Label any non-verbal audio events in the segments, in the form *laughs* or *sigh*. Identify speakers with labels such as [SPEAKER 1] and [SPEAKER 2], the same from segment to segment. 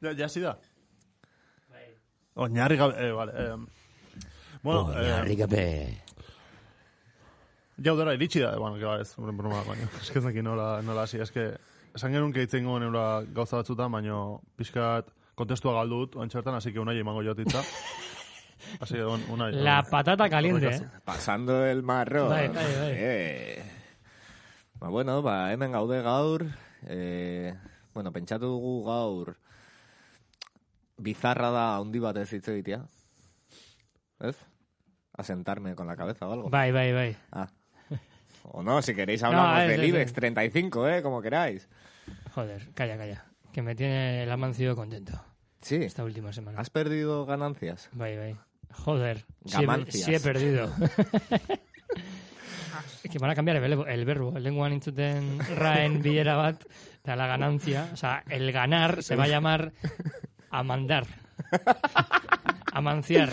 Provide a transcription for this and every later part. [SPEAKER 1] Ja, jasi da? Oinarri gabe, eh, vale. Eh, bueno,
[SPEAKER 2] Oh,
[SPEAKER 1] eh,
[SPEAKER 3] Eh,
[SPEAKER 4] Oinarri gabe.
[SPEAKER 1] Jaudara iritsi da, bueno, gara ez, broma, *laughs* baina, eske ez dakit nola, nola hasi, eske, esan genuen keitzen goen eura gauza batzutan, baino, pixkat, kontestua galdu dut, ontsertan, así que unai emango
[SPEAKER 2] *laughs*
[SPEAKER 1] jotitza. Así que, un, unai.
[SPEAKER 2] La
[SPEAKER 1] unai.
[SPEAKER 2] patata caliente, eh?
[SPEAKER 3] Pasando del marro.
[SPEAKER 2] Bai, bai, bai.
[SPEAKER 3] Eh. Ba, bueno, ba, hemen gaude gaur. Eh, bueno, pentsatu dugu gaur bizarra da handi batez hitz egitea. ¿Ez? Asentarme con la cabeza o algo.
[SPEAKER 2] Bai, bai, bai.
[SPEAKER 3] Ah. O no, si queréis hablamos
[SPEAKER 2] No, es,
[SPEAKER 3] del E
[SPEAKER 2] es,
[SPEAKER 3] IBEX
[SPEAKER 2] es.
[SPEAKER 3] 35, eh, como queráis.
[SPEAKER 2] Joder, calla, calla. Que me tiene el amancio contento
[SPEAKER 3] Sí.
[SPEAKER 2] esta última semana.
[SPEAKER 3] ¿Has perdido ganancias?
[SPEAKER 2] Bai, bai. Joder, sí he,
[SPEAKER 3] Gamancias.
[SPEAKER 2] sí
[SPEAKER 3] *laughs*
[SPEAKER 2] he perdido. que van a cambiar el, verbo- el verbo. Lenguan intzuten raen bilera bat, da la ganancia. O sea, el ganar se va a llamar
[SPEAKER 3] *laughs*
[SPEAKER 2] amandar. Amanciar.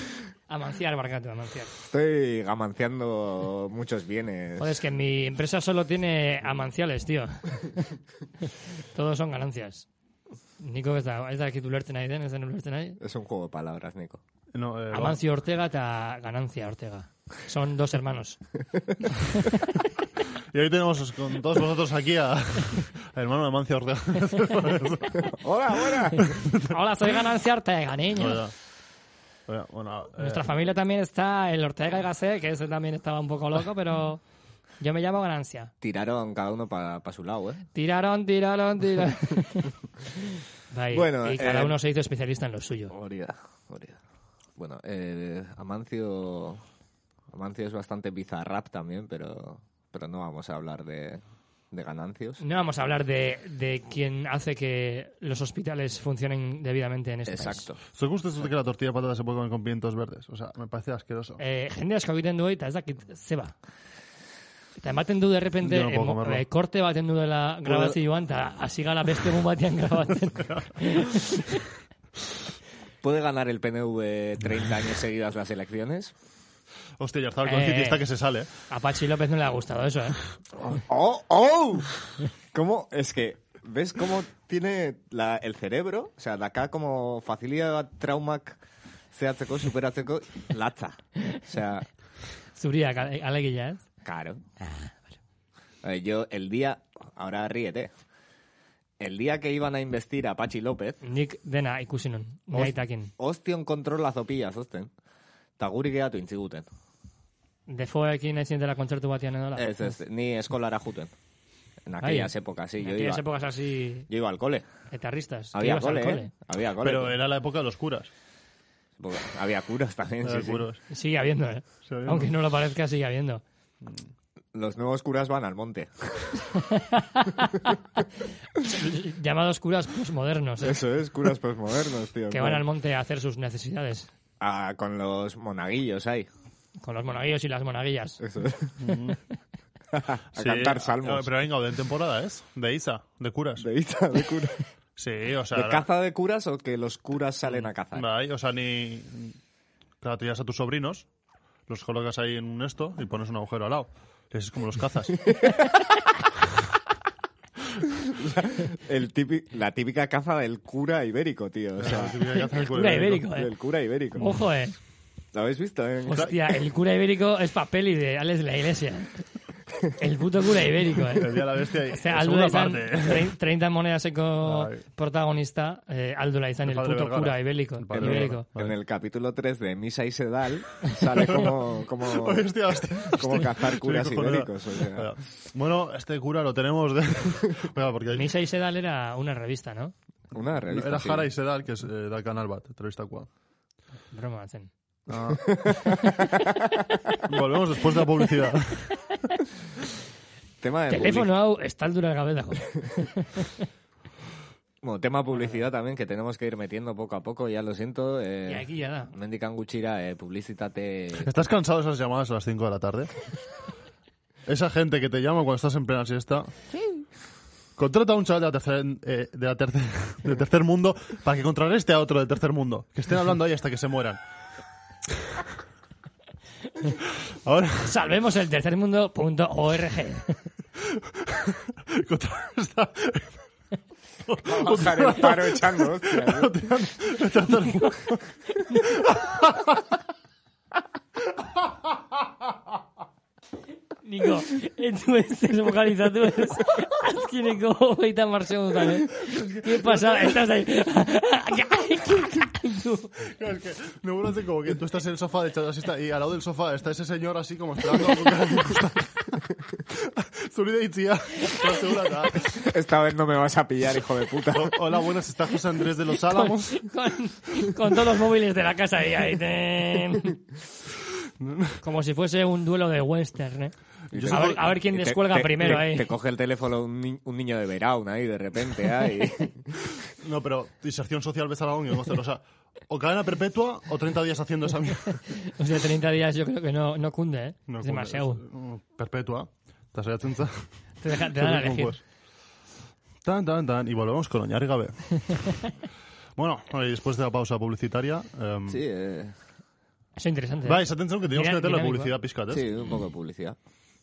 [SPEAKER 2] Amanciar, barcato, amanciar.
[SPEAKER 3] Estoy gamanciando muchos bienes.
[SPEAKER 2] Joder, es que mi empresa solo tiene
[SPEAKER 1] *laughs*
[SPEAKER 2] amanciales, tío. Todos son ganancias. Niko ez da, ez da kitu lertzen nahi den, ez den ulertzen nahi.
[SPEAKER 3] Es un juego de palabras, Nico.
[SPEAKER 1] No, eh, ba,
[SPEAKER 2] Amancio Ortega eta Ganancia Ortega. Son dos hermanos. *laughs*
[SPEAKER 1] y hoy tenemos con todos vosotros aquí a, *laughs* al hermano de Mancio
[SPEAKER 2] *laughs*
[SPEAKER 1] Ortega.
[SPEAKER 3] ¡Hola, buena!
[SPEAKER 2] Hola, soy Ganancia Ortega, niño.
[SPEAKER 1] Hola. Hola, bueno, eh,
[SPEAKER 2] Nuestra familia también está el Ortega y Gasset, que ese también estaba un poco loco, pero yo me llamo Ganancia.
[SPEAKER 3] Tiraron cada uno para su lado, ¿eh?
[SPEAKER 2] Tiraron, tiraron,
[SPEAKER 1] *laughs*
[SPEAKER 2] tiraron. Bai,
[SPEAKER 3] Bueno,
[SPEAKER 2] y cada
[SPEAKER 3] eh,
[SPEAKER 2] uno se hizo especialista en lo suyo.
[SPEAKER 3] Hori da, hori da. Bueno, eh, Amancio... Amancio es bastante bizarrap también, pero, pero no vamos a hablar de, de ganancios.
[SPEAKER 2] No vamos a hablar de, de quién hace que los hospitales funcionen debidamente en este país.
[SPEAKER 3] Exacto.
[SPEAKER 1] ¿Zuek uste que la tortilla de patata se puede comer con pimientos verdes? O sea, me parece asqueroso.
[SPEAKER 2] Eh, jende asko egiten du eta ez dakit zeba. Eta ematen du derrepente
[SPEAKER 1] Yo no puedo comerlo.
[SPEAKER 2] korte eh, baten du dela grabazioan eta hasi gala beste egun batean grabatzen.
[SPEAKER 3] ¿Puede ganar el PNV 30 años seguidas las elecciones?
[SPEAKER 1] Hostia, ya estaba con
[SPEAKER 2] Eh,
[SPEAKER 1] City, está
[SPEAKER 2] eh.
[SPEAKER 1] que se sale.
[SPEAKER 2] A Pachi López no le ha gustado eso, ¿eh?
[SPEAKER 3] ¡Oh! ¡Oh! ¿Cómo? Es que, ¿ves cómo tiene la, el cerebro? O sea, de acá como facilidad traumac zehatzeko, superatzeko, latza. O sea,
[SPEAKER 2] Zuria, alegia, ¿eh?
[SPEAKER 3] Claro. Eh, Yo el día, ahora ríete, el día que iban a investir a Pachi López,
[SPEAKER 2] Nik dena ikusi nun, nire aitakin.
[SPEAKER 3] ostion kontrola zopia zozten, eta guri gehatu intziguten.
[SPEAKER 2] Defoekin ezin dela kontzertu batean edo la.
[SPEAKER 3] Ez, ez, ni eskolara juten. En aquellas épocas, sí, yo iba,
[SPEAKER 2] aquellas épocas así
[SPEAKER 3] yo iba al cole.
[SPEAKER 2] etarristas. que
[SPEAKER 3] Había
[SPEAKER 2] ibas al
[SPEAKER 3] cole,
[SPEAKER 2] cole.
[SPEAKER 3] ¿eh? Había cole.
[SPEAKER 1] Pero era la época de los curas.
[SPEAKER 3] Porque Había curas también, sí,
[SPEAKER 1] Era
[SPEAKER 3] sí.
[SPEAKER 1] curos.
[SPEAKER 2] Sigue habiendo, ¿eh?
[SPEAKER 1] Sigue habiendo.
[SPEAKER 2] Aunque no lo parezca, sigue habiendo.
[SPEAKER 3] Los nuevos curas van al
[SPEAKER 2] *laughs*
[SPEAKER 3] monte.
[SPEAKER 2] Llamados curas posmodernos, ¿eh?
[SPEAKER 3] Eso es, curas postmodernos, tío.
[SPEAKER 2] Que van al monte a hacer sus necesidades.
[SPEAKER 3] Ah, con los monaguillos ahí.
[SPEAKER 2] Con los monaguillos y las monaguillas.
[SPEAKER 3] Eso es. *laughs* a
[SPEAKER 1] Sí,
[SPEAKER 3] cantar
[SPEAKER 1] eh,
[SPEAKER 3] salmos.
[SPEAKER 1] Pero venga, de temporada es. De Isa, de curas.
[SPEAKER 3] De ita, de cura.
[SPEAKER 1] Sí, o sea.
[SPEAKER 3] ¿De
[SPEAKER 1] la-
[SPEAKER 3] caza de curas o que los curas salen a cazar?
[SPEAKER 1] Bai, o sea, ni. Claro, tú llevas a tus sobrinos, los colocas ahí en un esto y pones un agujero al lado. Ese es como los
[SPEAKER 3] *laughs*
[SPEAKER 1] cazas.
[SPEAKER 3] El típi- la típica caza del cura ibérico, tío. O sea,
[SPEAKER 1] El
[SPEAKER 2] cura ibérico, eh.
[SPEAKER 3] del cura ibérico.
[SPEAKER 2] Ojo, eh.
[SPEAKER 3] ¿Lo habéis visto? eh?
[SPEAKER 2] Hostia, el cura ibérico es papel y de Alex de la Iglesia. eh. El puto cura ibérico,
[SPEAKER 1] El
[SPEAKER 2] eh.
[SPEAKER 1] día de la bestia. Y,
[SPEAKER 2] O sea,
[SPEAKER 1] la
[SPEAKER 2] Aldo
[SPEAKER 1] segunda
[SPEAKER 2] Laizán,
[SPEAKER 1] parte. eh.
[SPEAKER 2] trein- 30 monedas eco
[SPEAKER 1] Ay.
[SPEAKER 2] protagonista, eh, Aldo Laizán,
[SPEAKER 1] El
[SPEAKER 2] el,
[SPEAKER 1] padre
[SPEAKER 2] puto
[SPEAKER 1] Vergara.
[SPEAKER 2] cura ibérico.
[SPEAKER 1] El padre
[SPEAKER 2] ibérico.
[SPEAKER 3] En el capítulo 3 de Misa y Sedal sale como,
[SPEAKER 2] *laughs*
[SPEAKER 1] *laughs*
[SPEAKER 3] como,
[SPEAKER 1] Hostia, hostia.
[SPEAKER 3] como cazar curas
[SPEAKER 1] Sí, cojonuda.
[SPEAKER 3] ibéricos. o sea.
[SPEAKER 1] Bueno, este cura lo tenemos de. *laughs* Venga, porque hay-
[SPEAKER 2] Misa y Sedal era una revista, ¿no?
[SPEAKER 3] Una revista.
[SPEAKER 1] Era
[SPEAKER 3] sí.
[SPEAKER 1] Jara y Sedal, que es eh, da canal bat, entrevista cual.
[SPEAKER 2] Broma, hacen.
[SPEAKER 1] Volvemos después de la publicidad.
[SPEAKER 3] Tema de
[SPEAKER 2] Telefono hau estaldura gabe
[SPEAKER 1] *laughs*
[SPEAKER 2] dago.
[SPEAKER 3] public- bueno, tema publicidad también que tenemos que ir metiendo poco a poco, ya lo siento.
[SPEAKER 2] Y aquí
[SPEAKER 3] Eh,
[SPEAKER 2] ya da.
[SPEAKER 3] Mendican Guchira, eh,
[SPEAKER 2] *laughs*
[SPEAKER 3] publicitate...
[SPEAKER 1] ¿Estás cansado de esas llamadas a las 5 de la tarde? Esa gente que te llama cuando estás en plena siesta. Contrata a un chaval de la tercer, eh, de la tercer, de tercer mundo para que contrarreste a otro de tercer mundo. Que estén hablando ahí hasta que se mueran. Ahora, *laughs*
[SPEAKER 2] Salvemos el tercermundo.org.
[SPEAKER 1] contrarresta.
[SPEAKER 3] bajar el paro echando
[SPEAKER 2] *laughs*
[SPEAKER 3] hostias. ¿no?
[SPEAKER 1] El tercer mundo.
[SPEAKER 2] Niko, entu ez vocalizatu ez azkineko hogeita marxe dutan, eh? Ke pasa, estás ahí.
[SPEAKER 1] Claro, es que me vuelve a hacer como que tú estás en el sofá de chalasista y al lado del sofá está ese señor así como esperando algo que *laughs* le gusta. Zurida y tía.
[SPEAKER 3] Esta vez no me vas a pillar, hijo de puta.
[SPEAKER 1] Hola, buenas, está José Andrés de los Álamos.
[SPEAKER 2] con, con todos los móviles de la casa ahí, ahí. ten. Como si fuese un duelo de western, ¿eh?
[SPEAKER 3] Y
[SPEAKER 2] A
[SPEAKER 3] te-
[SPEAKER 2] ver, a ver quién
[SPEAKER 3] y te-
[SPEAKER 2] descuelga
[SPEAKER 3] te-
[SPEAKER 2] primero
[SPEAKER 3] te-
[SPEAKER 2] ahí.
[SPEAKER 3] Te coge el teléfono un, ni- un niño de Veraun ahí de
[SPEAKER 2] *laughs*
[SPEAKER 3] repente. Ahí.
[SPEAKER 1] No, pero inserción social Bezalón y Goster, o sea, o cadena perpetua o 30 días haciendo esa mierda.
[SPEAKER 2] Los de 30 días yo creo que no, no cunde, ¿eh?
[SPEAKER 1] No,
[SPEAKER 2] es demasiado.
[SPEAKER 1] como- Perpetua. Te has chunza.
[SPEAKER 2] Te, deja- te
[SPEAKER 1] *laughs*
[SPEAKER 2] dan a elegir.
[SPEAKER 1] Pues, Tan, tan, tan. Y volvemos con Oñar
[SPEAKER 2] *laughs*
[SPEAKER 1] Gabe. bueno, y después de la pausa publicitaria. em,
[SPEAKER 3] Sí, eh,
[SPEAKER 2] Eso es interesante. ¿eh?
[SPEAKER 1] Vais, atención que teníamos
[SPEAKER 2] Mira-
[SPEAKER 1] que meter la
[SPEAKER 2] dinámico,
[SPEAKER 1] publicidad, piscates.
[SPEAKER 3] sí, un poco de publicidad.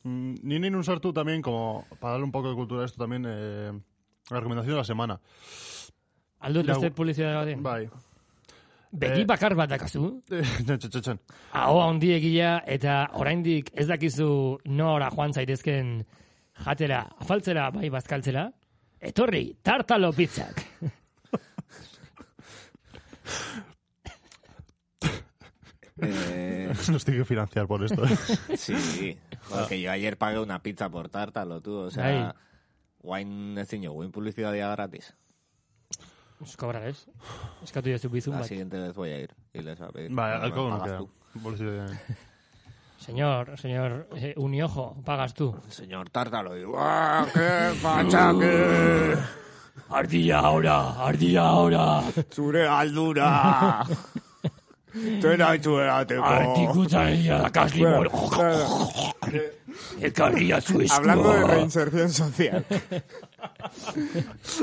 [SPEAKER 1] Mm, Ninin Unsartu también, como para darle un poco de cultura a esto también, eh, la recomendación de la semana.
[SPEAKER 2] Aldu,
[SPEAKER 1] La-
[SPEAKER 2] beste publizitatea
[SPEAKER 1] *laughs*
[SPEAKER 2] batean.
[SPEAKER 1] Bai.
[SPEAKER 2] Begi
[SPEAKER 1] Eh,
[SPEAKER 2] bakar bat dakazu,
[SPEAKER 1] Eh, txan, txan, txan.
[SPEAKER 2] ahoa handiegia eta oraindik ez dakizu nora joan zaitezken jatera, afaltzera, bai bazkaltzera, etorri, tartalo pizzak.
[SPEAKER 3] Eh,
[SPEAKER 1] *laughs* Nos tiene que financiar por esto. eh.
[SPEAKER 3] sí, joder, que yo ayer pagué una pizza por tártalo, tú. O sea,
[SPEAKER 2] Ahí.
[SPEAKER 3] wine ez dino, wine publicidad ya gratis.
[SPEAKER 2] Ez kobrar, ez? Eskatu jazu bizun
[SPEAKER 1] Ah,
[SPEAKER 3] La
[SPEAKER 2] bat.
[SPEAKER 3] siguiente vez voy a ir y les voy a pedir.
[SPEAKER 1] Vale,
[SPEAKER 3] Me
[SPEAKER 1] alcohol no
[SPEAKER 3] pagas
[SPEAKER 1] queda.
[SPEAKER 3] tú. *laughs*
[SPEAKER 1] Publicidad.
[SPEAKER 2] Señor, señor, eh, uniojo, pagas tú.
[SPEAKER 3] Señor Tártalo, y ¡guau! "Ah, ¡Qué machaque!
[SPEAKER 2] Ardilla ahora, ardilla ahora,
[SPEAKER 3] ¡Zure
[SPEAKER 2] *laughs*
[SPEAKER 3] aldura! ¡Tena itzuerateko!
[SPEAKER 2] artikutzaria dakasli ekarria zu
[SPEAKER 3] Hablando de reinserción
[SPEAKER 2] *laughs*
[SPEAKER 3] social.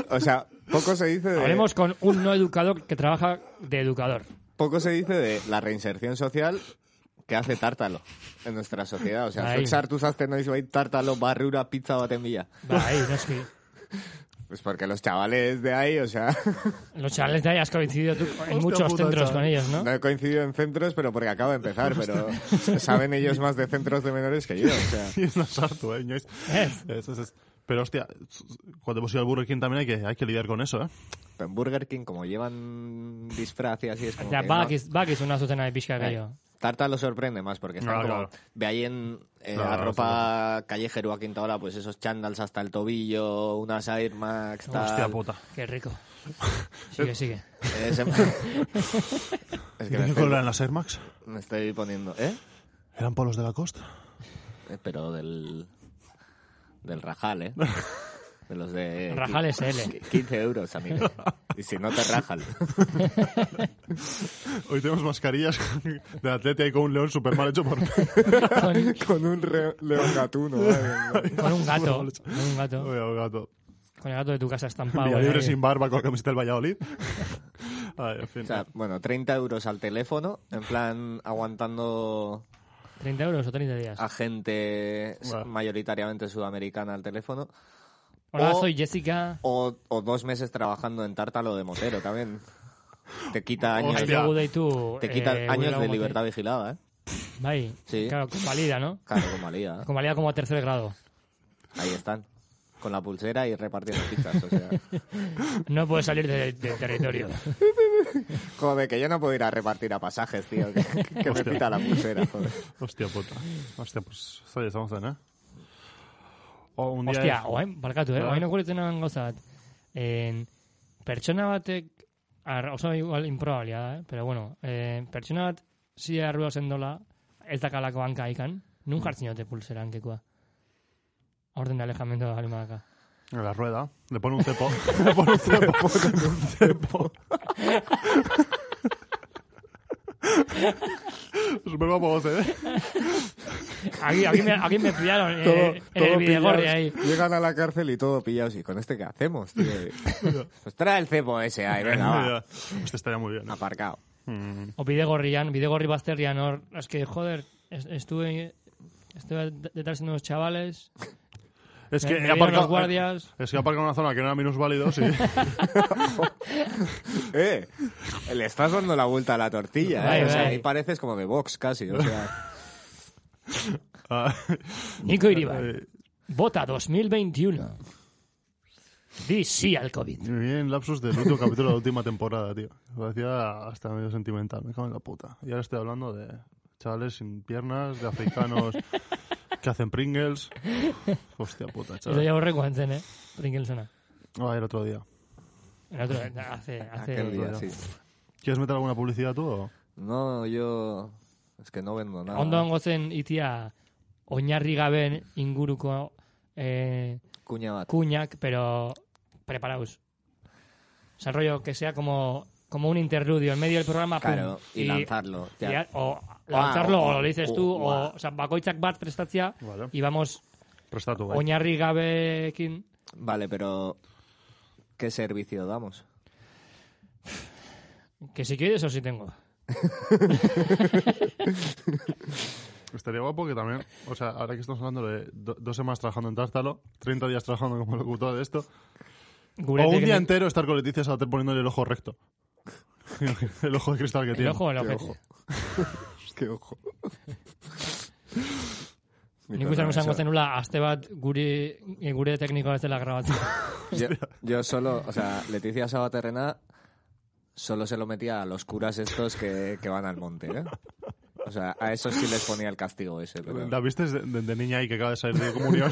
[SPEAKER 3] o sea, poco se dice de...
[SPEAKER 2] Hablemos con un no educador que trabaja de educador.
[SPEAKER 3] poco se dice de la reinserción social que hace Tártalo en nuestra sociedad. O sea,
[SPEAKER 2] Ahí.
[SPEAKER 3] zuk sartu zazten noiz bai Tártalo barrura pizza baten bila.
[SPEAKER 2] Bai,
[SPEAKER 1] *laughs*
[SPEAKER 2] noski.
[SPEAKER 3] Pues porque los chavales de ahí, o sea,
[SPEAKER 2] Los chavales de ahí has coincidido tú en
[SPEAKER 1] Hostia
[SPEAKER 2] muchos
[SPEAKER 1] puta,
[SPEAKER 2] centros
[SPEAKER 1] chaval.
[SPEAKER 2] con ellos, ¿no?
[SPEAKER 3] no he coincidido en centros, pero porque acabo de empezar, pero saben ellos más de centros de menores que yo, o sea.
[SPEAKER 1] Y *laughs* es una sartu, eh, ñois.
[SPEAKER 2] Ez.
[SPEAKER 1] Es, es, es. Pero hostia, cuando hemos ido al Burger King también hay que, hay que lidiar con eso, ¿eh?
[SPEAKER 3] En Burger King, como llevan disfraz y así, es como
[SPEAKER 2] Eta
[SPEAKER 3] que no-
[SPEAKER 2] bakiz, bakizuna zuzena pixka gehiago.
[SPEAKER 3] Tarta lo sorprende más porque están
[SPEAKER 1] No,
[SPEAKER 3] como...
[SPEAKER 1] claro.
[SPEAKER 3] De ahí en eh,
[SPEAKER 1] Claro,
[SPEAKER 3] la
[SPEAKER 1] claro,
[SPEAKER 3] ropa callejero a quinta hora, pues esos chándals hasta el tobillo, unas Air Max, tal.
[SPEAKER 1] Hostia puta. *laughs*
[SPEAKER 2] Qué rico. Sigue, sigue.
[SPEAKER 3] Eh, se-
[SPEAKER 1] ¿Qué
[SPEAKER 3] es que me
[SPEAKER 1] color
[SPEAKER 3] estoy,
[SPEAKER 1] eran las Air Max?
[SPEAKER 3] me estoy poniendo... ¿Eh?
[SPEAKER 1] ¿Eran polos de la costa?
[SPEAKER 3] Eh, Pero del... Del
[SPEAKER 1] *laughs*
[SPEAKER 3] Rajal, ¿eh? De los de...
[SPEAKER 2] Rajal SL.
[SPEAKER 3] 15 euros, amigo. Y si no te rajan.
[SPEAKER 1] Hoy tenemos mascarillas *laughs* de atleta y con un león super mal *laughs* hecho por mí.
[SPEAKER 2] Con,
[SPEAKER 3] Con un león gatuno.
[SPEAKER 2] con
[SPEAKER 1] *laughs*
[SPEAKER 2] un gato. Con un gato.
[SPEAKER 1] Oye, gato.
[SPEAKER 2] Con el gato de tu casa estampado. eh.
[SPEAKER 1] Villalibre
[SPEAKER 2] ahí.
[SPEAKER 1] sin barba con la camiseta del *laughs* Valladolid. Ay, en fin.
[SPEAKER 3] O sea, bueno, 30 euros al teléfono, en plan aguantando
[SPEAKER 2] 30 euros o 30 días.
[SPEAKER 3] a gente s-
[SPEAKER 1] Buah.
[SPEAKER 3] mayoritariamente sudamericana al teléfono,
[SPEAKER 2] Hola,
[SPEAKER 3] o-
[SPEAKER 2] soy Jessica.
[SPEAKER 3] o, o dos meses trabajando en tártalo de motero también. Te quita años,
[SPEAKER 1] Hostia.
[SPEAKER 2] Aigu deitu.
[SPEAKER 3] te quita
[SPEAKER 2] eh,
[SPEAKER 3] años de
[SPEAKER 2] Wilhelm
[SPEAKER 3] libertad vigilada, ¿eh?
[SPEAKER 2] Motel. Bai,
[SPEAKER 3] Sí.
[SPEAKER 2] claro, con valida, ¿no?
[SPEAKER 3] Claro, con valía.
[SPEAKER 2] Con valida como a tercer grado.
[SPEAKER 3] Ahí están, con la pulsera y repartiendo pizzas. O sea.
[SPEAKER 2] No puedes salir de- del territorio.
[SPEAKER 3] Joder, que yo no puedo ir a repartir a pasajes, tío, que, que me pita la pulsera, joder.
[SPEAKER 1] Hostia puta. Hostia, pues zaila izango zen, eh? O, un día
[SPEAKER 2] Hostia, oain, barkatu, eh?
[SPEAKER 1] Ba.
[SPEAKER 2] Oain okuritzen nagoen gauza bat. En, pertsona batek, ar, oso igual improbabilia da, eh? Pero bueno, eh, pertsona bat, zide arrua sendola, ez dakalako hanka ikan, nun jartzen jote pulsera hankekoa. Orden de alejamiento da galima daka.
[SPEAKER 1] en la rueda le pone un cepo. *laughs* le pone un cepo. pone un
[SPEAKER 2] *laughs*
[SPEAKER 1] cepo. Super guapo eh?
[SPEAKER 2] Aquí, aquí, me, aquí me pillaron eh, en el videogorri ahí.
[SPEAKER 3] Llegan a la cárcel y todo pillados. ¿Y con este qué hacemos, tío? pues trae el cepo ese ahí, venga, va.
[SPEAKER 1] Mira, Hostia, estaría muy bien. ¿eh?
[SPEAKER 3] Aparcado.
[SPEAKER 1] Mm,
[SPEAKER 2] O bidegorrian, bidegorri bazterrian hor, es que, joder, es- estuve, estuve detrás de unos chavales
[SPEAKER 1] Es
[SPEAKER 2] Me-
[SPEAKER 1] que
[SPEAKER 2] me
[SPEAKER 1] he
[SPEAKER 2] vieron
[SPEAKER 1] aparcado- eh,
[SPEAKER 2] los guardias.
[SPEAKER 1] Es que he aparcado en una zona que no era minusválidos
[SPEAKER 2] *laughs*
[SPEAKER 1] y
[SPEAKER 3] Eh, le estás dando la vuelta a la tortilla,
[SPEAKER 2] Vale,
[SPEAKER 3] eh. O sea,
[SPEAKER 2] vale.
[SPEAKER 3] ahí pareces como de Vox casi, o sea...
[SPEAKER 1] ah,
[SPEAKER 2] Nico Iribar.
[SPEAKER 1] eh,
[SPEAKER 2] Vota 2021. Di sí al COVID.
[SPEAKER 1] me vienen lapsus del último capítulo de la última temporada, tío. Parecía hasta medio sentimental, me cago en la puta. Y ahora estoy hablando de chavales sin piernas, de
[SPEAKER 2] *laughs*
[SPEAKER 1] africanos que hacen Pringles. Hostia puta,
[SPEAKER 2] Eso
[SPEAKER 1] chaval.
[SPEAKER 2] ya borrego antes, ¿eh? Pringelsona.
[SPEAKER 1] Ah, el otro día.
[SPEAKER 2] El otro,
[SPEAKER 1] *laughs*
[SPEAKER 2] hace, hace
[SPEAKER 3] Aquel día, sí.
[SPEAKER 1] ¿Quieres meter alguna publicidad tú o?
[SPEAKER 3] No, yo... Es que no vendo nada.
[SPEAKER 2] Ondo zen itia oinarri gaben inguruko eh,
[SPEAKER 3] Cuña bat.
[SPEAKER 2] kuñak, pero preparaos. O sea, rollo que sea como, como un interludio en medio del programa. pum,
[SPEAKER 3] Claro, y, lanzarlo.
[SPEAKER 2] y
[SPEAKER 3] ya.
[SPEAKER 2] a- o lanzarlo,
[SPEAKER 3] o-
[SPEAKER 2] o lo dices tú,
[SPEAKER 3] o-
[SPEAKER 2] o, o sea, bakoitzak bat prestatzea,
[SPEAKER 1] Vale.
[SPEAKER 2] y vamos
[SPEAKER 1] Presta tu, bai.
[SPEAKER 2] oinarri gabekin.
[SPEAKER 3] Vale, pero... ¿Qué servicio damos?
[SPEAKER 2] Que si quieres, eso sí tengo.
[SPEAKER 1] Estaría guapo que también, o sea, ahora que estamos hablando de do- dos semanas trabajando en Tártalo, 30 días trabajando como locutor de esto,
[SPEAKER 2] Gurete
[SPEAKER 1] o un
[SPEAKER 2] que
[SPEAKER 1] día
[SPEAKER 2] no-
[SPEAKER 1] entero estar con Leticia Sabater poniéndole el ojo recto. *laughs* el ojo de cristal que
[SPEAKER 2] el
[SPEAKER 1] tiene.
[SPEAKER 2] ojo o el
[SPEAKER 3] Qué
[SPEAKER 2] ojete.
[SPEAKER 3] ojo. Qué ojo.
[SPEAKER 2] Nik uste nuen zango zenula, aste bat guri, gure teknikoa ez
[SPEAKER 3] *laughs*
[SPEAKER 2] dela grabatzen.
[SPEAKER 3] Yo, yo solo, o sea, Leticia Sabaterrena solo se lo metía a los curas estos que, que van al monte, ¿eh? O sea, a esos sí les ponía el castigo ese, pero
[SPEAKER 1] La viste de, de- de niña ahí que acaba de salir de comunión.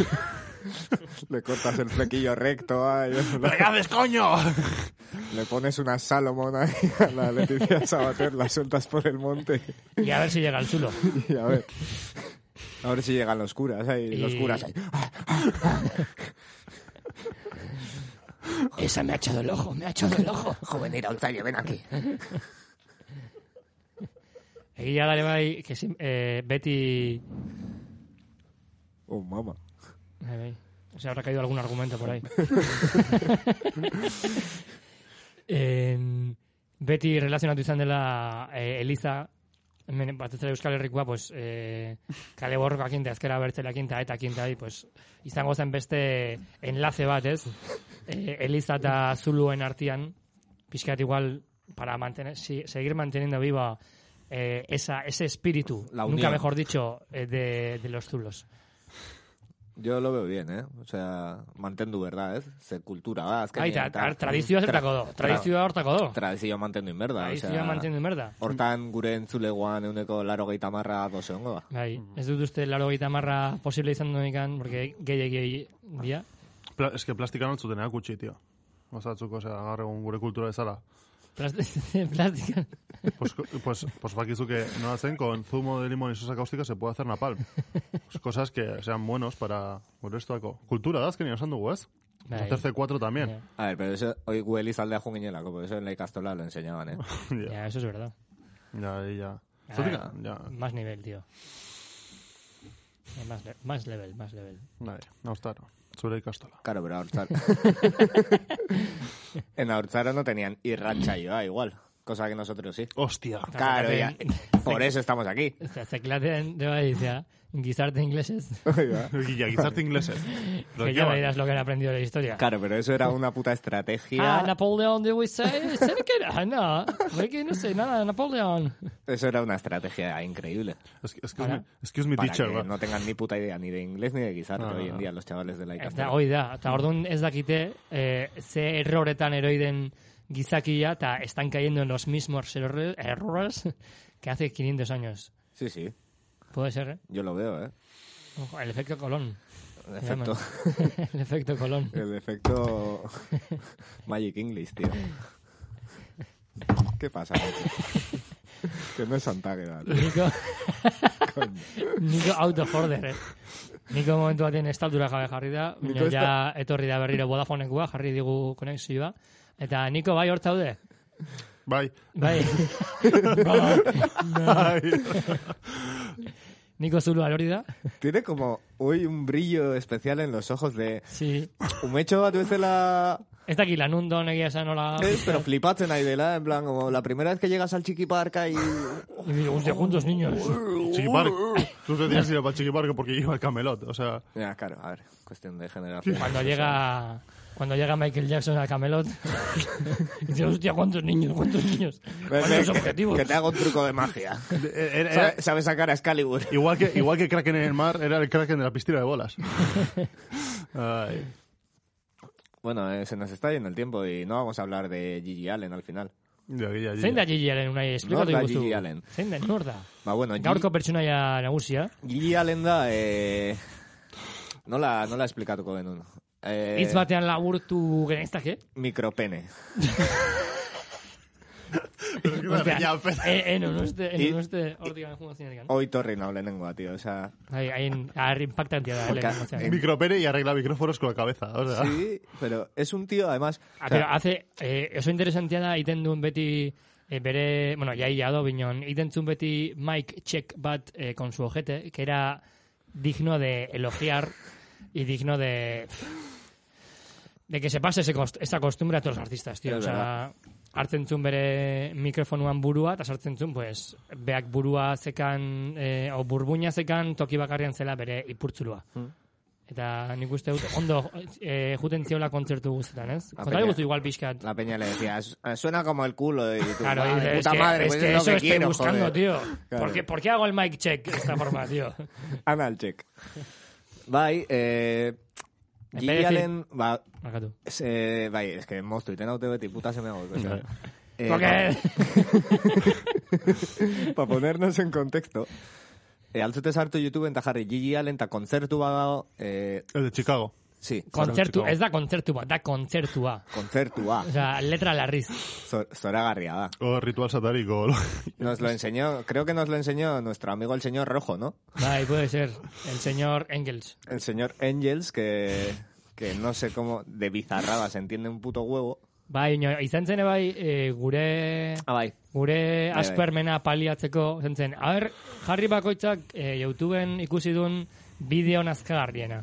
[SPEAKER 3] le cortas el flequillo recto, ay,
[SPEAKER 1] *laughs*
[SPEAKER 3] *laughs*
[SPEAKER 1] ¿Pero qué haces, coño?
[SPEAKER 3] le pones una Salomón ahí a la Leticia Sabater, la sueltas por el monte
[SPEAKER 2] Y a ver si llega el chulo.
[SPEAKER 3] y a ver. A ver si llegan los curas ahí, los
[SPEAKER 2] Y-
[SPEAKER 3] curas ahí.
[SPEAKER 2] Esa me ha echado el ojo, me ha echado el ojo.
[SPEAKER 3] Joven Irautzaile, ven aquí.
[SPEAKER 2] Egia da ere bai, que sin- eh, beti...
[SPEAKER 3] Oh, mamá.
[SPEAKER 2] Bai, bai. Se habrá caído algún argumento por
[SPEAKER 3] *laughs*
[SPEAKER 2] ahí. En- beti relazionatu izan dela eh, Eliza, hemen batez ere Euskal Herrikoa, pues, eh, kale borrokakin, eta azkera bertzelakin, eta etakin, eta bai, pues, izango zen beste enlace bat,
[SPEAKER 3] *laughs*
[SPEAKER 2] ez? Eh, Eliza eta Zuluen artian, pixkat igual, para mantener, si- seguir manteniendo viva eh, esa, ese espíritu,
[SPEAKER 3] La
[SPEAKER 2] nunca
[SPEAKER 3] unión.
[SPEAKER 2] mejor dicho, eh, de, de los zulos.
[SPEAKER 3] Yo lo veo bien, ¿eh? O sea, mantendu, ¿verdad? ¿eh? Ze kultura da, azkenean.
[SPEAKER 2] Aita,
[SPEAKER 3] eta-
[SPEAKER 2] tradizioa zertako do. Tradizioa hortako do.
[SPEAKER 3] Tradizioa mantendu inberda.
[SPEAKER 2] Tradizioa mantendu merda.
[SPEAKER 3] Hortan gure entzulegoan euneko laro gehieta marra doze hongo da.
[SPEAKER 2] Bai, ez dut uste laro marra posible izan duenikan, porque gehi gehi dia.
[SPEAKER 1] Pla- es que plastikan altzuten erakutsi, tío. Osatzuk, osea, gaur egun gure kultura bezala.
[SPEAKER 2] *laughs* Plast- Plástica.
[SPEAKER 1] Pues, co- pues, pues bakizu que no hacen con zumo de limón y sosa cáustica se puede hacer napalm. Pues cosas que sean buenos para gure estuako. Kultura da, azkenean esan dugu, ez?
[SPEAKER 2] Bai.
[SPEAKER 1] Terce 4 también.
[SPEAKER 2] Ya,
[SPEAKER 3] A ver, pero eso, hoy gu elizaldea junginelako, pero eso en la ikastola lo enseñaban, ¿eh?
[SPEAKER 1] *laughs* Ya,
[SPEAKER 2] ya, eso es verdad.
[SPEAKER 1] ya, ya.
[SPEAKER 2] Ah.
[SPEAKER 1] Zotika, ya.
[SPEAKER 2] Más nivel, tío. Eh, Más, le- más level, más level.
[SPEAKER 1] Bai, haustaro. Zure ikastola.
[SPEAKER 3] Claro, pero ahortzar... en ahortzara no tenían irratxaioa igual, cosa que nosotros sí.
[SPEAKER 1] Hostia.
[SPEAKER 3] Claro, ya. Por eso estamos aquí.
[SPEAKER 2] Eta zeklaten, de bai, dizia, gizarte inglesez.
[SPEAKER 1] Guilla, gizarte ingleses. Pero
[SPEAKER 2] Que
[SPEAKER 1] qué
[SPEAKER 2] ya
[SPEAKER 1] va.
[SPEAKER 2] verás lo que han aprendido de la historia.
[SPEAKER 3] *laughs* Claro, pero eso era una puta estrategia.
[SPEAKER 2] Ah, Napoleón de Wisay, ¿sabes qué era? Ah, No, porque no sé nada, Napoleón.
[SPEAKER 3] Eso era una estrategia increíble.
[SPEAKER 1] Es- Excuse
[SPEAKER 2] Ahora.
[SPEAKER 1] me, excuse me,
[SPEAKER 3] Para
[SPEAKER 1] teacher.
[SPEAKER 3] que
[SPEAKER 1] va.
[SPEAKER 3] no tengan ni puta idea ni de inglés ni de guisarte
[SPEAKER 1] No, no,
[SPEAKER 3] hoy en
[SPEAKER 1] no.
[SPEAKER 3] día los chavales de la
[SPEAKER 2] Eta
[SPEAKER 3] ikastola.
[SPEAKER 2] hoi da, eta orduan ez dakite eh, ze erroretan eroiden gizakia eta están cayendo en los mismos erro- errores que hace 500 años.
[SPEAKER 3] Sí, sí,
[SPEAKER 2] Puede ser, ¿eh?
[SPEAKER 3] yo lo veo, ¿eh?
[SPEAKER 2] Ojo, el efecto *laughs* Colón.
[SPEAKER 3] El
[SPEAKER 2] Se llama.
[SPEAKER 3] efecto,
[SPEAKER 2] el efecto Colón.
[SPEAKER 3] el efecto *laughs* Magic English, tío. ¿Qué pasa? tío? que no es Santa Guevara, *laughs* tío.
[SPEAKER 2] Nico, Nico out of order, eh? Nico momentu baten estaldura jabe jarri da, baina
[SPEAKER 3] Nico ez da-
[SPEAKER 2] ja etorri da berriro Vodafonekua, jarri digu konexioa. Eta Niko bai hor zaude? *laughs*
[SPEAKER 1] Bai.
[SPEAKER 2] Bai.
[SPEAKER 1] *laughs* Bai.
[SPEAKER 2] Niko Zulu hori da.
[SPEAKER 3] Tiene como hoy un brillo especial en los ojos de...
[SPEAKER 2] Sí.
[SPEAKER 3] Umetxo bat bezala...
[SPEAKER 2] Ez dakit lanun da honegia esan nola...
[SPEAKER 3] Ez, pero flipatzen ari dela, en plan, como la primera vez que llegas al chiquiparca y...
[SPEAKER 2] Y digo, hostia, juntos, niños.
[SPEAKER 3] *laughs*
[SPEAKER 1] Chiquiparque. Tú te tienes que ir para Chiquiparque porque iba al Camelot. O sea,
[SPEAKER 3] Ya, claro, a ver, cuestión de generación. *laughs*
[SPEAKER 2] Cuando llega... Cuando llega Michael Jackson al Camelot, *laughs* y dice, hostia, ¿cuántos niños? ¿Cuántos niños?
[SPEAKER 3] Ven,
[SPEAKER 2] ¿Cuántos
[SPEAKER 3] ven, que,
[SPEAKER 2] objetivos?
[SPEAKER 3] Pues que te hago un truco de
[SPEAKER 2] *laughs*
[SPEAKER 3] magia.
[SPEAKER 1] eh, eh,
[SPEAKER 3] Sabe- Sabes sacar a Excalibur.
[SPEAKER 1] igual que, igual que Kraken en el mar, era el Kraken de la piscina de bolas. Ay.
[SPEAKER 3] Bueno, eh, se nos está yendo el tiempo y no vamos a hablar de Gigi Allen al final.
[SPEAKER 1] Ya, ya, ya. *laughs*
[SPEAKER 2] Zein da Gigi Allen unai, esplikatu
[SPEAKER 3] Nor da
[SPEAKER 2] iguzu.
[SPEAKER 3] Gigi Allen?
[SPEAKER 2] Zein da, nor da?
[SPEAKER 3] Ba, bueno, Gigi-
[SPEAKER 2] Gaurko pertsonaia nagusia,
[SPEAKER 3] Gigi Allen da... Eh, nola, nola esplikatuko genuen? Eh,
[SPEAKER 2] hitz batean laburtu geneztake.
[SPEAKER 3] Micropene.
[SPEAKER 1] Vale, ya, pero-
[SPEAKER 2] eh, eno, noste,
[SPEAKER 3] I-
[SPEAKER 2] eno, noste, ordigan jungo zinenekan.
[SPEAKER 3] Hoy torri nau lehenengoa, tío. O sea,
[SPEAKER 2] Ahí, ahí, ahí impactantia da, Allen.
[SPEAKER 3] Porque-
[SPEAKER 2] gogoratzea.
[SPEAKER 3] eh,
[SPEAKER 1] Micropene y arregla micrófonos con la cabeza. O sea,
[SPEAKER 3] sí, pero es un tío, además...
[SPEAKER 2] Ah,
[SPEAKER 3] o sea,
[SPEAKER 2] pero hace, eh, oso interesantia da, iten duen beti, eh, bere, bueno, jai jado binon, iten zuen beti Mike Check bat eh, con su ojete, que era digno de elogiar y digno de... De que se pase ese cost- esta costumbre a todos los artistas, tío.
[SPEAKER 3] Es
[SPEAKER 2] O sea, hartzen zuen bere mikrofonuan burua, eta sartzen zuen, pues, beak burua zekan, eh, o burbuña zekan toki bakarrean zela bere ipurtzulua. Eta nik uste dut, ondo eh, juten ziola kontzertu guztetan, ez?
[SPEAKER 3] Apena.
[SPEAKER 2] Kontari guztu igual pixkat.
[SPEAKER 3] La peña le decía, "Su- suena como el culo. Y tú,
[SPEAKER 2] Claro,
[SPEAKER 3] "Madre,
[SPEAKER 2] dices, es
[SPEAKER 3] Bai, puta
[SPEAKER 2] que,
[SPEAKER 3] madre,
[SPEAKER 2] es
[SPEAKER 3] pues
[SPEAKER 2] que
[SPEAKER 3] es lo
[SPEAKER 2] eso
[SPEAKER 3] que
[SPEAKER 2] estoy
[SPEAKER 3] quiero,
[SPEAKER 2] buscando,
[SPEAKER 3] joder".
[SPEAKER 2] tío.
[SPEAKER 3] Claro.
[SPEAKER 2] ¿Por, qué, por qué hago el mic check de esta forma, tío?
[SPEAKER 3] Anal *laughs* check. Bai, eh,
[SPEAKER 2] En
[SPEAKER 3] Gigi
[SPEAKER 2] vez de decir-
[SPEAKER 3] Allen, ba,
[SPEAKER 2] Markatu.
[SPEAKER 3] ze, bai, es que moztu iten haute beti puta seme hau.
[SPEAKER 1] Bai.
[SPEAKER 3] Eh,
[SPEAKER 2] Porque... *laughs*
[SPEAKER 3] *laughs* Para ponernos en contexto, eh, altzute sartu YouTube eta jarri Gigi Allen eta kontzertu badago, eh,
[SPEAKER 1] el de Chicago.
[SPEAKER 3] sí,
[SPEAKER 2] kontzertu,
[SPEAKER 1] Chicago.
[SPEAKER 2] ez da kontzertu bat, da kontzertua.
[SPEAKER 3] kontzertua,
[SPEAKER 2] O sea, letra larriz.
[SPEAKER 3] Zor- zoragarria da.
[SPEAKER 1] O ritual satánico. *laughs* o lo-
[SPEAKER 3] Nos lo enseñó, creo que nos lo enseñó nuestro amigo el señor Rojo, ¿no?
[SPEAKER 2] Bai, puede ser. El señor Engels.
[SPEAKER 3] El señor Angels, que, que no sé cómo, de bizarrada, se entiende un puto huevo.
[SPEAKER 2] Bai, ino, izan zen bai, eh, gure...
[SPEAKER 3] Ah, bai.
[SPEAKER 2] Gure
[SPEAKER 3] Bai, bai.
[SPEAKER 2] aspermena paliatzeko, zentzen, haber, jarri bakoitzak e, YouTubeen ikusi duen bideo nazkagarriena.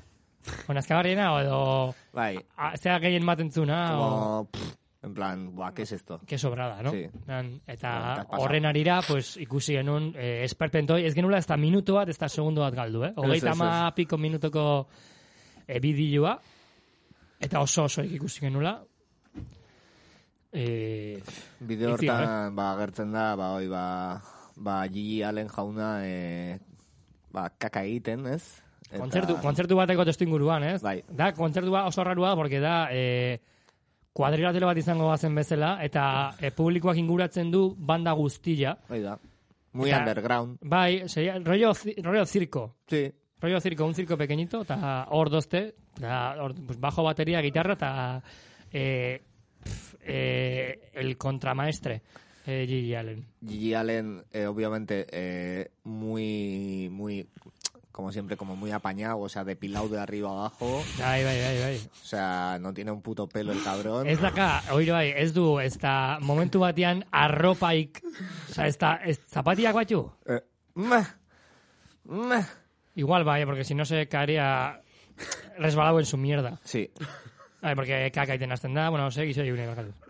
[SPEAKER 2] O nazkagarriena, o edo...
[SPEAKER 3] Bai.
[SPEAKER 2] a- Zea gehien maten zuna, o...
[SPEAKER 3] Como, pff, en plan, buah, ¿qué es esto?
[SPEAKER 2] Que sobrada, no?
[SPEAKER 3] Sí.
[SPEAKER 2] Nan,
[SPEAKER 3] Bueno,
[SPEAKER 2] eta
[SPEAKER 3] eta pasa.
[SPEAKER 2] horren arira, pues, ikusi genuen eh, esperpentoi, ez genula ez da minutu bat, ez da segundu bat galdu, eh? Hogeita
[SPEAKER 3] ez, ez.
[SPEAKER 2] ma piko minutuko eh, bideoa, eta oso oso ikusi genula. Eh,
[SPEAKER 3] Bideo
[SPEAKER 2] Itzi,
[SPEAKER 3] hortan, ba, gertzen da, ba, hoi, ba, ba, Gigi Allen jauna, eh, ba, kaka egiten, ez? Eta-
[SPEAKER 2] Kontzertu, kontzertu bateko testu inguruan, ez?
[SPEAKER 3] Bai.
[SPEAKER 2] Da, kontzertua oso rarua, porque da, e, kuadrilatelo bat izango bazen bezala, eta e, publikoak inguratzen du banda guztia.
[SPEAKER 3] Hoi da. Muy
[SPEAKER 2] Eta-
[SPEAKER 3] underground.
[SPEAKER 2] Bai, seria, rollo, zi- rollo circo.
[SPEAKER 3] Sí.
[SPEAKER 2] Rollo circo, un circo pequeñito, eta hor dozte, eta hor, pues, bajo bateria, guitarra, eta e, pf, e, el contramaestre, e, Gigi Allen.
[SPEAKER 3] Gigi Allen, eh, obviamente, eh, muy, muy, como siempre, como muy apañado, o sea, depilado de arriba abajo.
[SPEAKER 2] Bai, bai, bai, bai.
[SPEAKER 3] O sea, no tiene un puto pelo el cabrón.
[SPEAKER 2] Ez daka, oiro bai, ez du, ez da momentu batean arropaik, oza, ez da, ez, zapatiak batu?
[SPEAKER 3] Eh, meh, meh.
[SPEAKER 2] Igual vaya, porque si no se caería resbalado en su mierda.
[SPEAKER 3] Sí.
[SPEAKER 2] A ver, porque caca y tenazten da, bueno, sé, gizo y une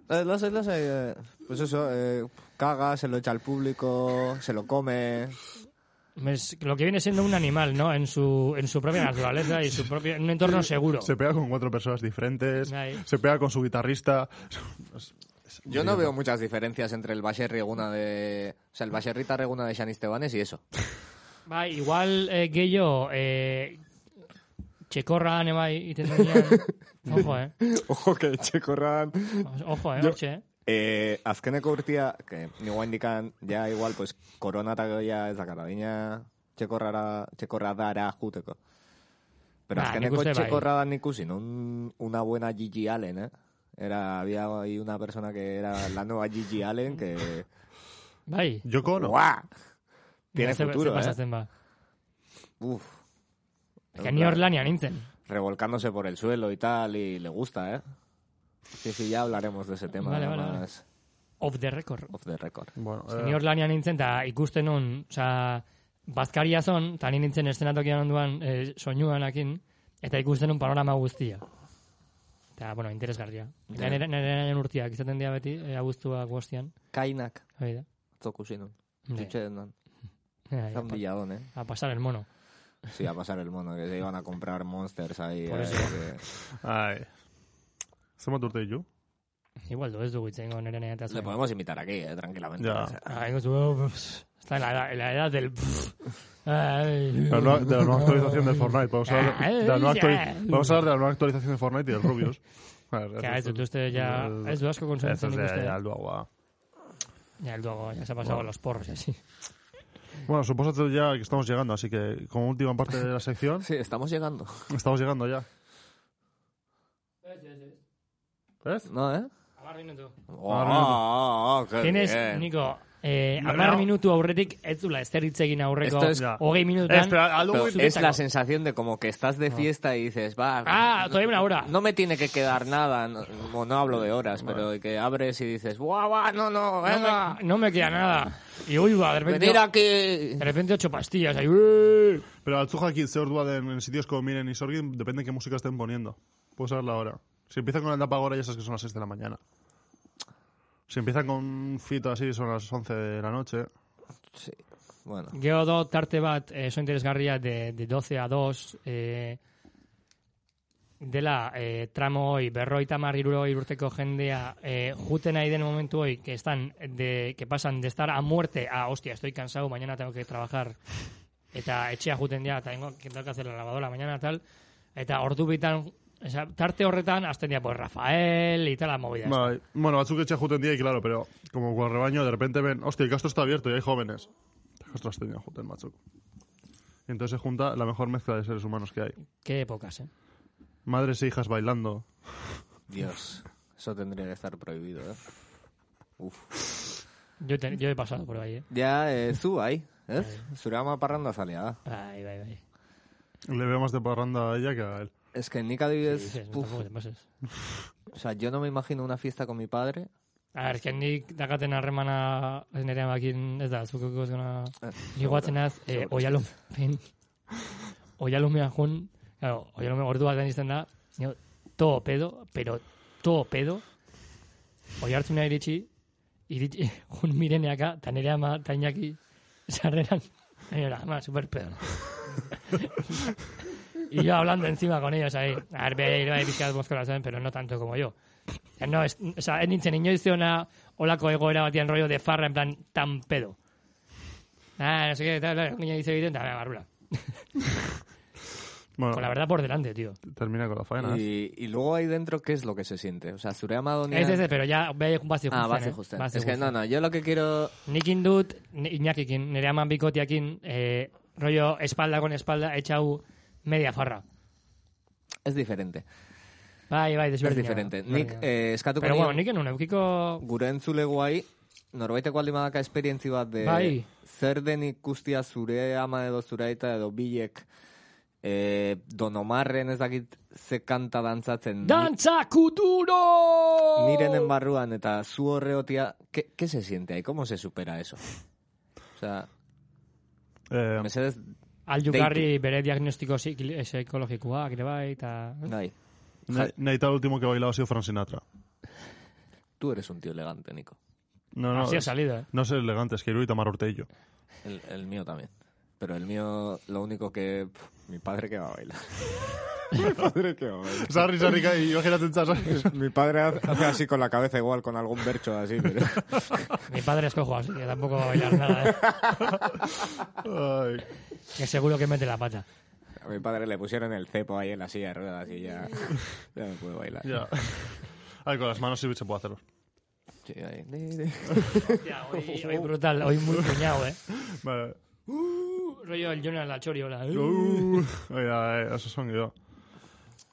[SPEAKER 3] Eh, lo sé, lo sé. eh, pues eso, eh, caga, se lo echa al público, se lo come.
[SPEAKER 2] Es lo que viene siendo un animal, ¿no? En su, en su propia naturaleza y su propio, en un entorno seguro.
[SPEAKER 1] Se pega con cuatro personas diferentes.
[SPEAKER 2] Ahí.
[SPEAKER 1] Se pega con su guitarrista.
[SPEAKER 3] Yo no veo muchas diferencias entre el Baserri Eguna de... O sea, el Baserri Tarreguna de Xanis Tebanes y eso.
[SPEAKER 2] Bai, igual eh, gehiago, eh, txekorra ane bai, iten
[SPEAKER 3] *laughs*
[SPEAKER 2] duenean. Ojo, eh.
[SPEAKER 3] *laughs* Ojo, que txekorran...
[SPEAKER 2] Ojo, eh,
[SPEAKER 3] Yo-
[SPEAKER 2] hortxe, eh.
[SPEAKER 3] Eh, azkeneko urtia, que nigo indican, ya igual, pues, korona eta goia ez dakara, dina txekorrara, txekorradara juteko. Pero
[SPEAKER 2] Nah, nik
[SPEAKER 3] azkeneko
[SPEAKER 2] uste bai.
[SPEAKER 3] txekorradan ikusi, no? Un, una buena Gigi Allen, eh? Era, había ahí una persona que era la nueva Gigi Allen, que...
[SPEAKER 2] Bai.
[SPEAKER 1] Yo cono.
[SPEAKER 3] ¡Guau! Tiene
[SPEAKER 2] Ze- ze
[SPEAKER 3] futuro, eh?
[SPEAKER 2] pasatzen ba.
[SPEAKER 3] Uf,
[SPEAKER 2] este Que ni Orlania nintzen.
[SPEAKER 3] revolcándose por el suelo y tal, y le gusta, ¿eh? Sí, sí, ya hablaremos de ese tema
[SPEAKER 2] Vale, vale, vale.
[SPEAKER 3] más
[SPEAKER 2] Off the record.
[SPEAKER 3] off the record.
[SPEAKER 1] Bueno, eh,
[SPEAKER 2] Ni hor lanean nintzen, eta ikusten nun, oza, bazkaria zon, eta ni nintzen estenatokian onduan e, soinuanakin, eta ikusten un panorama guztia. Eta, bueno, interesgarria. Eta
[SPEAKER 3] Ja.
[SPEAKER 2] nire, nire, nire urtiak izaten dira beti, e, abuztuak bostian.
[SPEAKER 3] Kainak
[SPEAKER 2] Hori da.
[SPEAKER 3] tzoku zinun.
[SPEAKER 2] Ne.
[SPEAKER 3] Dutxe denan.
[SPEAKER 2] Ai,
[SPEAKER 3] Zan
[SPEAKER 2] a,
[SPEAKER 3] billadon, eh?
[SPEAKER 2] pa- a pasar el mono.
[SPEAKER 3] Sí, a pasar el mono, que se iban a comprar monsters ahí.
[SPEAKER 2] Por
[SPEAKER 3] eh,
[SPEAKER 2] eso.
[SPEAKER 3] que-
[SPEAKER 1] Ai. Zenbat urte ditu?
[SPEAKER 2] Igual du ez dugu itzengo nire nire *laughs* eta
[SPEAKER 3] Le podemos invitar aquí, eh, tranquilamente.
[SPEAKER 1] Ya.
[SPEAKER 3] O sea,
[SPEAKER 2] Ah, ingo zu, oh, pff, está en la, edad- en la edad del... Ay.
[SPEAKER 1] La nueva- de la nueva actualización del Fortnite. Vamos a hablar de la nueva,
[SPEAKER 2] Eh,
[SPEAKER 1] actuali- vamos a hablar de la nueva actualización de Fortnite y del Rubius. A ver,
[SPEAKER 2] Ja, ez dut uste, ja,
[SPEAKER 1] Eh,
[SPEAKER 2] ez du asko
[SPEAKER 1] Eso
[SPEAKER 2] konsumitzen
[SPEAKER 1] es
[SPEAKER 2] ikuste.
[SPEAKER 1] de
[SPEAKER 2] Ja,
[SPEAKER 1] Alduagua.
[SPEAKER 2] helduago, ja se ha pasado los porros, así.
[SPEAKER 1] Bueno, supuesto ya que estamos llegando, así que como última parte de la
[SPEAKER 3] *laughs*
[SPEAKER 1] sección,
[SPEAKER 3] Sí, estamos llegando.
[SPEAKER 1] estamos llegando ya. ¿Ves?
[SPEAKER 3] ¿No, eh?
[SPEAKER 2] Amar minutu.
[SPEAKER 3] Oh,
[SPEAKER 1] Ah,
[SPEAKER 3] oh, oh, qué
[SPEAKER 2] Tienes,
[SPEAKER 3] bien.
[SPEAKER 2] Niko, eh,
[SPEAKER 1] No,
[SPEAKER 2] amar
[SPEAKER 1] no.
[SPEAKER 2] minutu aurretik ez dula ezer hitz egin aurreko
[SPEAKER 3] Esto es-
[SPEAKER 1] Ya.
[SPEAKER 2] hogei
[SPEAKER 1] Eh,
[SPEAKER 2] minutan.
[SPEAKER 1] espera,
[SPEAKER 3] Pero
[SPEAKER 1] Halloween-
[SPEAKER 3] es la
[SPEAKER 2] Zubetaco.
[SPEAKER 3] sensación de como que estás de fiesta y dices, va,
[SPEAKER 2] Ah, todavía una hora.
[SPEAKER 3] no me tiene que quedar nada, no, no- no hablo de horas, pero que abres y dices, guau, guau, no, no,
[SPEAKER 2] No
[SPEAKER 3] venga,
[SPEAKER 2] me, no me queda nada. Y uy, va, de repente,
[SPEAKER 3] venir aquí.
[SPEAKER 2] de repente ocho pastillas. Ahí, ué.
[SPEAKER 1] Pero Altzujakin se ordua de- en sitios como Miren y Sorgin, depende de qué música estén poniendo. Puedes saber la hora. Si empiezan con el Dapagora ya sabes que son las 6 de la mañana. Si empiezan con Fito así son las 11 de la noche.
[SPEAKER 3] Sí, Bueno,
[SPEAKER 2] Geo do tarte bat, eh, oso interesgarria de, de 12 a 2, eh, dela eh, tramo hoi, berroita marriruro urteko jendea, eh, juten nahi den momentu hoi, que, están de, que pasan de estar a muerte a, hostia, estoy cansado, mañana tengo que trabajar, eta etxea juten dira, eta tengo, que tengo que hacer la lavadora mañana, tal, eta ordu bitan, esa, tarte horretan, azten dira, pues Rafael, y tal, la movida. esta.
[SPEAKER 1] Bai. Bueno, Atsuki echa juten día y claro, pero como con el rebaño de repente ven, hostia, el castro está abierto y hay jóvenes. El castro has tenido juten, macho. Y entonces se junta la mejor mezcla de seres humanos que hay.
[SPEAKER 2] Qué épocas, eh.
[SPEAKER 1] Madres e hijas bailando.
[SPEAKER 3] Dios, eso tendría que estar prohibido, ¿eh? Uf.
[SPEAKER 2] Yo, te- yo he pasado por ahí, eh.
[SPEAKER 3] Ya, eh, zu ahí, ¿eh? Surama parranda salida.
[SPEAKER 2] Bai, bai, bai.
[SPEAKER 1] Le veo más de parranda a ella que a él.
[SPEAKER 3] Es que Nika Divides,
[SPEAKER 2] Dices, no,
[SPEAKER 3] puf,
[SPEAKER 2] tampoco te pases.
[SPEAKER 3] o sea, yo no me imagino una fiesta con mi padre.
[SPEAKER 2] A ber, que nik dakaten harremana nire amakin, ez da, zuko zona... Ligoatzen az, eh, oialum, fin. Oialumea jun, claro, oialumea ordu batean izten da, nio, todo pedo, pero todo pedo, oiartzuna iritsi, iritsi, *laughs* jun mireneaka, eta nire ama, eta inaki, sarreran, nire ama, super pedo. *laughs* y yo hablando encima con ellos ahí, a ver, bera ere bai pixkat mozkora zen, pero no tanto como yo. O sea, no, es, o sea, ez nintzen inoiz ona olako egoera batean rollo de farra en plan tan pedo. Ah, no sé qué, tal, tal, niña dice bien, tal, barbula.
[SPEAKER 1] Bueno,
[SPEAKER 2] Con Pues la verdad por delante, tío.
[SPEAKER 1] termina con la faena. ¿eh?
[SPEAKER 3] Y, y luego ahí dentro, ¿qué es lo que se siente? O sea, Surama Donia...
[SPEAKER 2] Ez, ez, ez, pero ya bai bazi justen.
[SPEAKER 3] Ah, base
[SPEAKER 2] eh?
[SPEAKER 3] justen.
[SPEAKER 2] Bazi
[SPEAKER 3] Es que no,
[SPEAKER 2] justen.
[SPEAKER 3] no, yo lo que quiero...
[SPEAKER 2] Nikin dut, ni- Iñakikin, nire aman bikotiakin, eh, rollo espalda con espalda, etxau media farra.
[SPEAKER 3] Es diferente.
[SPEAKER 2] Bai, bai,
[SPEAKER 3] Es
[SPEAKER 2] desberdina.
[SPEAKER 3] diferente.
[SPEAKER 2] Berdina.
[SPEAKER 3] Nik, eh, eskatuko
[SPEAKER 2] Pero bueno,
[SPEAKER 3] nion,
[SPEAKER 2] nik enun eukiko...
[SPEAKER 3] gure entzulegu hai, norbaiteko aldi badaka esperientzi bat de...
[SPEAKER 2] Bai.
[SPEAKER 3] Zer den ikustia zure ama edo zure aita edo bilek eh, donomarren ez dakit ze kanta dantzatzen
[SPEAKER 2] Dantza kuturo!
[SPEAKER 3] mirenen barruan eta zu horreotia, ¿qué, ¿qué se siente ahí? ¿Cómo se supera eso? O sea,
[SPEAKER 1] Eh,
[SPEAKER 3] mesedez,
[SPEAKER 2] Aldukarri bere diagnostiko psik- psikologikoak, ere bai, eta...
[SPEAKER 3] nahi,
[SPEAKER 1] Ne- Neita, el último que ha bailado ha sido Frank Sinatra.
[SPEAKER 3] tú eres un tío elegante, Nico.
[SPEAKER 1] No, no,
[SPEAKER 2] Así ha
[SPEAKER 1] es,
[SPEAKER 2] salido, eh.
[SPEAKER 1] no es elegante, es que Iruita Mar Ortello.
[SPEAKER 3] El, el mío también. Pero el mío, lo único que... pf, mi padre que va a bailar. mi padre que va a bailar.
[SPEAKER 1] Sarri, sarri, y yo giratzen zazan.
[SPEAKER 3] Mi padre hace así con la cabeza igual, con algún bercho así. Pero...
[SPEAKER 2] Mi padre es cojo, así que tampoco va a bailar nada, eh.
[SPEAKER 1] *laughs* Ay.
[SPEAKER 2] Que seguro que mete la pata.
[SPEAKER 3] A mi padre le pusieron el cepo ahí en la silla de ruedas y ya, ya no puede bailar.
[SPEAKER 1] Ya. *laughs* Ay, con las manos sí se puede hacerlo.
[SPEAKER 3] Sí, ahí, de- de-
[SPEAKER 2] *laughs* Hostia, hoy, hoy brutal, hoy *laughs* muy puñado, eh.
[SPEAKER 1] Vale.
[SPEAKER 2] Rollo el Jonas Lachori, hola.
[SPEAKER 1] Uh, *laughs* oida, eh, oso son yo.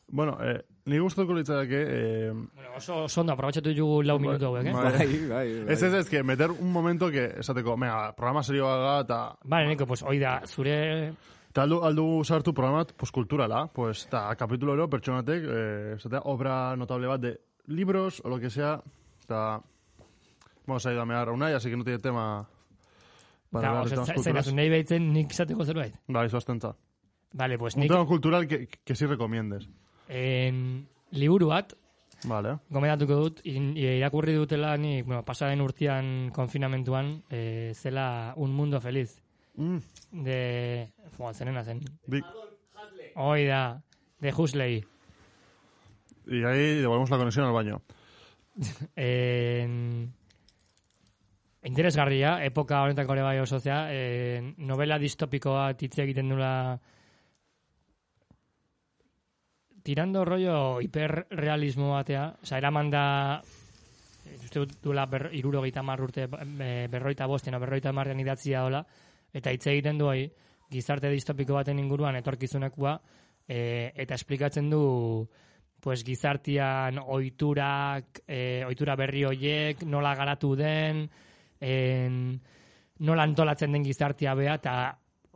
[SPEAKER 1] Bueno, eh, ni gustuko litzateke... Eh,
[SPEAKER 2] Bueno, oso oso ondo, aprobetxatu ditugu lau minutu hauek, eh.
[SPEAKER 1] ma-
[SPEAKER 3] Bai, bai, bai.
[SPEAKER 1] ez ez ez, que meter un momento que, esateko, mea, programa serioa da, eta
[SPEAKER 2] Vale, Nico, pues hoi da, zure...
[SPEAKER 1] ta aldu, aldu sartu programa, pues, kulturala, pues, eta kapitulo ero, pertsonatek, eh, esatea, obra notable bat de libros, o lo que sea, eta... Vamos a ir a mear a Unai, así que no tiene tema... Para
[SPEAKER 2] Eta,
[SPEAKER 1] behar
[SPEAKER 2] oso,
[SPEAKER 1] ditudan
[SPEAKER 2] ze-
[SPEAKER 1] kulturaz.
[SPEAKER 2] zerasun nahi baitzen nik izateko zerbait.
[SPEAKER 1] Bai, zoztentza.
[SPEAKER 2] Vale, pues
[SPEAKER 1] Un
[SPEAKER 2] nik
[SPEAKER 1] tema cultural que, que sí recomiendes.
[SPEAKER 2] en, liburu bat,
[SPEAKER 1] Vale.
[SPEAKER 2] gomendatuko dut, in- irakurri dutela nik, bueno, pasaden urtean konfinamentuan, eh, zela Un Mundo Feliz.
[SPEAKER 1] Mm,
[SPEAKER 2] De... Fua, zenena zen.
[SPEAKER 1] di-
[SPEAKER 2] Hoi da, de Huxley.
[SPEAKER 1] y ahí devolvemos la conexión al baño.
[SPEAKER 2] En... Interesgarria, epoka honetako ere bai oso zea, en, novela distopikoa hitz egiten dula tirando rollo hiperrealismo batea, oza, eraman da eh, uste dut duela ber, irurogeita mar urte eh, berroita bosten, o berroita marrean idatzia dola, eta hitz egiten du hori, gizarte distopiko baten inguruan etorkizunekua, eh, eta esplikatzen du pues, gizartian oiturak, eh, oitura berri hoiek, nola garatu den, en, nola antolatzen den gizartia bea, eta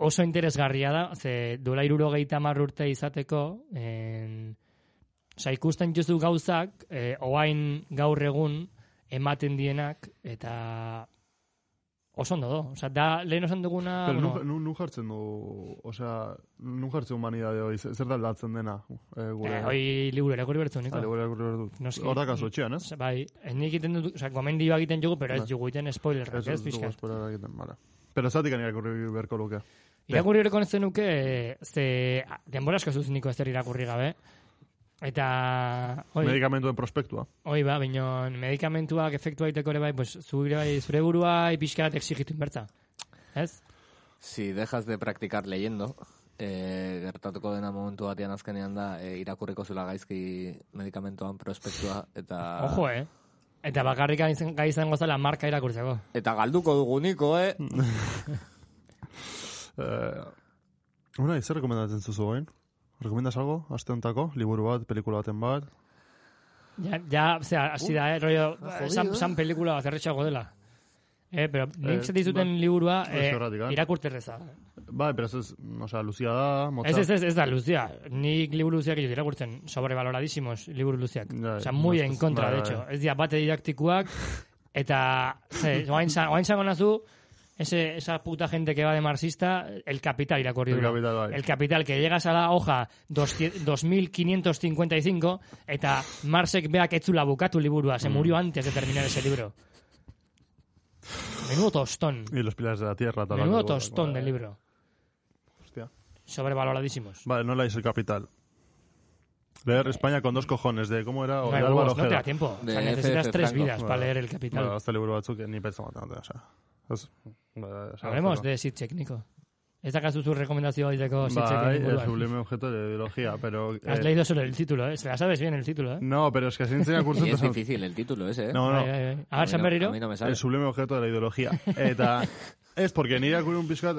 [SPEAKER 2] oso interesgarria da, ze duela irurogeita mar urte izateko, en, Osa, ikusten justu gauzak, eh, oain gaur egun, ematen dienak, eta oso ondo do. Osa, da, lehen osan duguna...
[SPEAKER 1] Pero
[SPEAKER 2] Ah, bueno,
[SPEAKER 1] nun, nun, nun jartzen du, osea, nun jartzen humanidade hori, zer da aldatzen dena? Eh, gure, Bai,
[SPEAKER 2] eh, hoi liburu irakurri bertu,
[SPEAKER 1] Ale,
[SPEAKER 2] niko.
[SPEAKER 1] gure, gure, gure,
[SPEAKER 2] Noski.
[SPEAKER 1] Hor dakazu etxean, ez?
[SPEAKER 2] Osa, bai, eh, nik egiten dut, osa, gomendi egiten dugu, pero ez
[SPEAKER 1] Bai.
[SPEAKER 2] dugu egiten spoiler, ez,
[SPEAKER 1] Ez dugu
[SPEAKER 2] pixka.
[SPEAKER 1] espera egiten, bale. Pero zatik anik irakurri beharko luke.
[SPEAKER 2] Irakurri horreko netzen nuke, eh, ze ah, denbora asko zuz niko ezer irakurri gabe. Eta, hoi,
[SPEAKER 1] Medikamentuen prospektua.
[SPEAKER 2] hoi ba, baino, medikamentuak efektua egiteko ere bai, pues, zure, bai, zure burua pixka bat exigitu inbertza. Ez?
[SPEAKER 3] Si dejas de practicar leyendo, eh, gertatuko dena momentu batean azkenean da, eh, irakurriko zula gaizki medikamentuan prospektua, eta...
[SPEAKER 2] Ojo, eh? Eta bakarrik gai izan- gai izango zela marka irakurtzeko.
[SPEAKER 3] Eta galduko dugu niko,
[SPEAKER 2] *laughs*
[SPEAKER 3] eh?
[SPEAKER 1] Eh, Unai, zer rekomendatzen zuzu oain? Rekomendas algo? Aste hontako? Liburu bat, pelikula baten bat?
[SPEAKER 2] Ja, ja zera, hasi da, eh, rollo,
[SPEAKER 3] jodido, eh?
[SPEAKER 2] san, san pelikula bat erretxago dela. Eh, pero nik
[SPEAKER 1] Eh,
[SPEAKER 2] zati zuten liburua
[SPEAKER 1] Ez
[SPEAKER 2] eh,
[SPEAKER 1] horregatik, eh?
[SPEAKER 2] irakurterreza.
[SPEAKER 1] Bai, pero ez ez, osea, luzia da, motza.
[SPEAKER 2] Ez, ez, ez, ez da, luzia. Nik liburu luziak ditut irakurtzen, sobrevaloradísimos liburu luziak.
[SPEAKER 1] Ja,
[SPEAKER 2] Osa, muy
[SPEAKER 1] ez-
[SPEAKER 2] en kontra,
[SPEAKER 1] bai,
[SPEAKER 2] de
[SPEAKER 1] bai.
[SPEAKER 2] hecho. Ez dira, bate didaktikuak, eta, ze, oain, sa- oain zango nazu, ese, esa puta gente que va de marxista, el capital irakurri
[SPEAKER 1] El
[SPEAKER 2] duela.
[SPEAKER 1] Capital, bai.
[SPEAKER 2] El capital, que llegas a la hoja 200 2555, eta Marxek beak etzula bukatu liburua,
[SPEAKER 1] Mm.
[SPEAKER 2] se murió antes de terminar ese libro. Menudo tostón.
[SPEAKER 1] Y los pilares de la tierra. tal,
[SPEAKER 2] Menudo
[SPEAKER 1] algo,
[SPEAKER 2] tostón
[SPEAKER 1] vale.
[SPEAKER 2] del libro.
[SPEAKER 1] Hostia.
[SPEAKER 2] Sobrevaloradísimos.
[SPEAKER 1] Vale, no leáis el capital. Leer España con dos cojones de cómo era o de
[SPEAKER 2] Eh. Bai,
[SPEAKER 1] Álvaro
[SPEAKER 2] huevos, no te
[SPEAKER 1] Ojeda.
[SPEAKER 2] da tiempo. O
[SPEAKER 3] De
[SPEAKER 2] sea, necesitas
[SPEAKER 3] FF
[SPEAKER 2] tres
[SPEAKER 3] Franco.
[SPEAKER 2] vidas para
[SPEAKER 1] Vale.
[SPEAKER 2] leer el Capital.
[SPEAKER 1] Bueno, hasta Ba, liburu batzuk ni pertsona bat, o sea. Ez, ba, esan
[SPEAKER 2] Hablemos
[SPEAKER 1] bezala.
[SPEAKER 2] de Sitchek, Nico. Esta caso su recomendación de
[SPEAKER 1] Bai,
[SPEAKER 2] Sitchek.
[SPEAKER 1] el sublime objeto de la ideología, pero...
[SPEAKER 2] *laughs* Has
[SPEAKER 1] eh,
[SPEAKER 2] leído solo el título, ¿eh? Se la sabes bien el título, ¿eh?
[SPEAKER 1] No, pero es que así
[SPEAKER 2] *laughs*
[SPEAKER 1] enseña cursos...
[SPEAKER 3] Y es difícil el título ese, eh?
[SPEAKER 1] No,
[SPEAKER 2] Bai,
[SPEAKER 1] no,
[SPEAKER 2] bai, bai. A
[SPEAKER 3] A
[SPEAKER 2] ver,
[SPEAKER 3] mí
[SPEAKER 2] San
[SPEAKER 3] no-
[SPEAKER 2] Berriro.
[SPEAKER 3] A mí no me sale.
[SPEAKER 1] el sublime objeto de la ideologia. Eta, ez, porque nire akurun pixkat,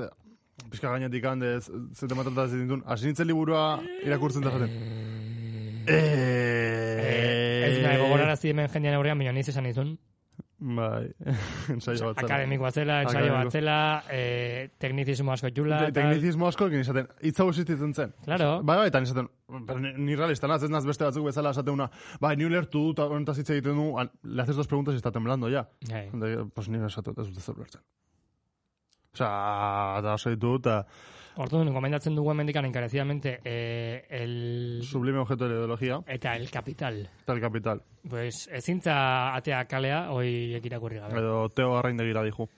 [SPEAKER 1] pixka gainetik handez, zete matratatzen ditun, hasi nintzen liburua irakurtzen da zaten.
[SPEAKER 2] Eh, ez nahi gogorarazi hemen jendean aurrean, baina niz esan izun.
[SPEAKER 1] Bai, *laughs* ensaio bat.
[SPEAKER 2] Akademiko atzela, ensaio
[SPEAKER 1] Akademiko.
[SPEAKER 2] batzela, eh, teknizismo asko jula. tal.
[SPEAKER 1] Teknizismo asko egin izaten, hitz hau existitzen zen.
[SPEAKER 2] Claro.
[SPEAKER 1] Bai, bai, eta ni esaten, pero ni, ni realista naz, ez naz beste batzuk bezala esate una, bai, ni ulertu dut, honetaz hitz egiten du, an- le haces dos preguntas y está temblando ya.
[SPEAKER 2] Bai.
[SPEAKER 1] De, pues ni esate, ez dut zer ulertzen. Osa, eta oso eh, ditu, eta
[SPEAKER 2] Orduan, gomendatzen dugu hemendikan encarecidamente eh, el...
[SPEAKER 1] sublime objeto de la ideología,
[SPEAKER 2] Eta el capital.
[SPEAKER 1] eta el capital.
[SPEAKER 2] Pues ezintza atea kalea, hoi ekirakurri gabe.
[SPEAKER 1] Edo Teo Arraindegira dijo.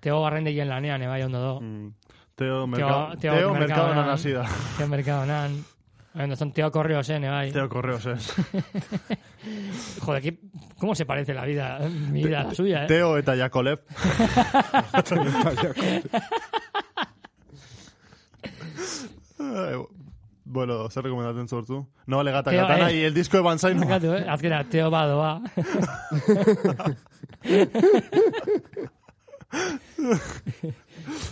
[SPEAKER 2] Teo barrendegien lanean, ebai ondo do.
[SPEAKER 1] Mm. Teo, mercado, eh.
[SPEAKER 2] Teo
[SPEAKER 1] teo, mercado
[SPEAKER 2] Mercadonan.
[SPEAKER 1] hasi da.
[SPEAKER 2] Teo mercado nan. Bueno, son teo correo zen, eh, bai.
[SPEAKER 1] Teo Correos, eh.
[SPEAKER 2] Joder, ¿qué, ¿cómo se parece la vida, *laughs* mi vida a la suya, eh? *laughs*
[SPEAKER 1] Teo eta Jakolev. Ai, *laughs* bueno, zer rekomendatzen sortu? No, legata
[SPEAKER 2] Teo,
[SPEAKER 1] katana
[SPEAKER 2] eh.
[SPEAKER 1] y el disco de Banzai no.
[SPEAKER 2] Barkatu, eh? Azkena, teo badoa. *laughs*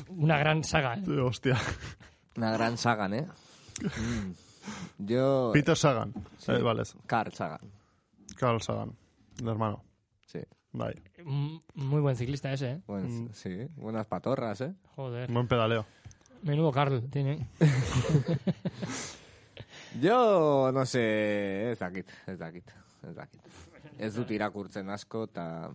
[SPEAKER 2] Una gran saga, eh?
[SPEAKER 1] Hostia.
[SPEAKER 3] Una gran Sagan,
[SPEAKER 2] *laughs*
[SPEAKER 3] eh? Mm. Yo...
[SPEAKER 1] Peter Sagan. Eh, vale, ez.
[SPEAKER 3] Carl Sagan,
[SPEAKER 1] Carl Sagan. El hermano.
[SPEAKER 3] sí.
[SPEAKER 1] Bai.
[SPEAKER 2] Mm, Muy buen ciclista ese, eh?
[SPEAKER 3] Buen- Sí, buenas patorras, eh?
[SPEAKER 2] Joder.
[SPEAKER 1] Buen pedaleo.
[SPEAKER 2] Menudo Carl tiene.
[SPEAKER 3] Yo, no sé, ez dakit, ez dakit, ez dakit. Ez dut irakurtzen asko, eta...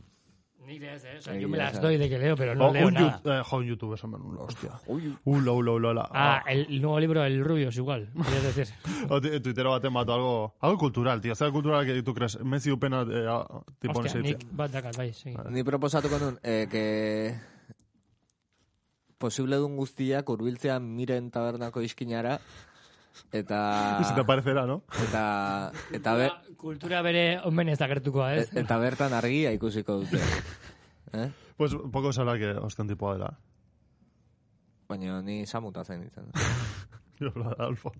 [SPEAKER 2] Nik ere ez, eh. O sea,
[SPEAKER 3] Nik
[SPEAKER 2] yo me
[SPEAKER 3] ere
[SPEAKER 2] las
[SPEAKER 3] ez.
[SPEAKER 2] doy de que leo, pero no
[SPEAKER 1] O
[SPEAKER 2] leo
[SPEAKER 1] un,
[SPEAKER 2] nada.
[SPEAKER 1] yu- eh, jo, un youtuber, hombre, un hostia.
[SPEAKER 3] Uy,
[SPEAKER 1] Un lo, lo, lo, la.
[SPEAKER 2] Ah, eh. el nuevo libro del Rubio es igual. Quería decir.
[SPEAKER 1] Oh, O ti- Twitter va a mato algo, algo cultural, tío. Algo cultural que tú crees. Messi Upena eh, ah, te pones
[SPEAKER 2] Hostia,
[SPEAKER 1] ahí,
[SPEAKER 2] Nick
[SPEAKER 1] tío.
[SPEAKER 2] bat dakar, bai, sí.
[SPEAKER 3] ni proposatu konun, eh, que... Posible dun guztiak urbiltzea miren tabernako iskinara,
[SPEAKER 1] Y se te
[SPEAKER 2] Ah.
[SPEAKER 3] eta...
[SPEAKER 1] aparecerá, ¿no?
[SPEAKER 3] Eta, eta, ber,
[SPEAKER 2] Ba, Kultura bere omen ez dakertukoa, ez?
[SPEAKER 3] eta bertan argia ikusiko dute. Eh?
[SPEAKER 1] Pues poco se habla que hostia tipo de la.
[SPEAKER 3] Baina ni samuta zen nintzen.
[SPEAKER 1] *laughs* Yo lo de Alfo.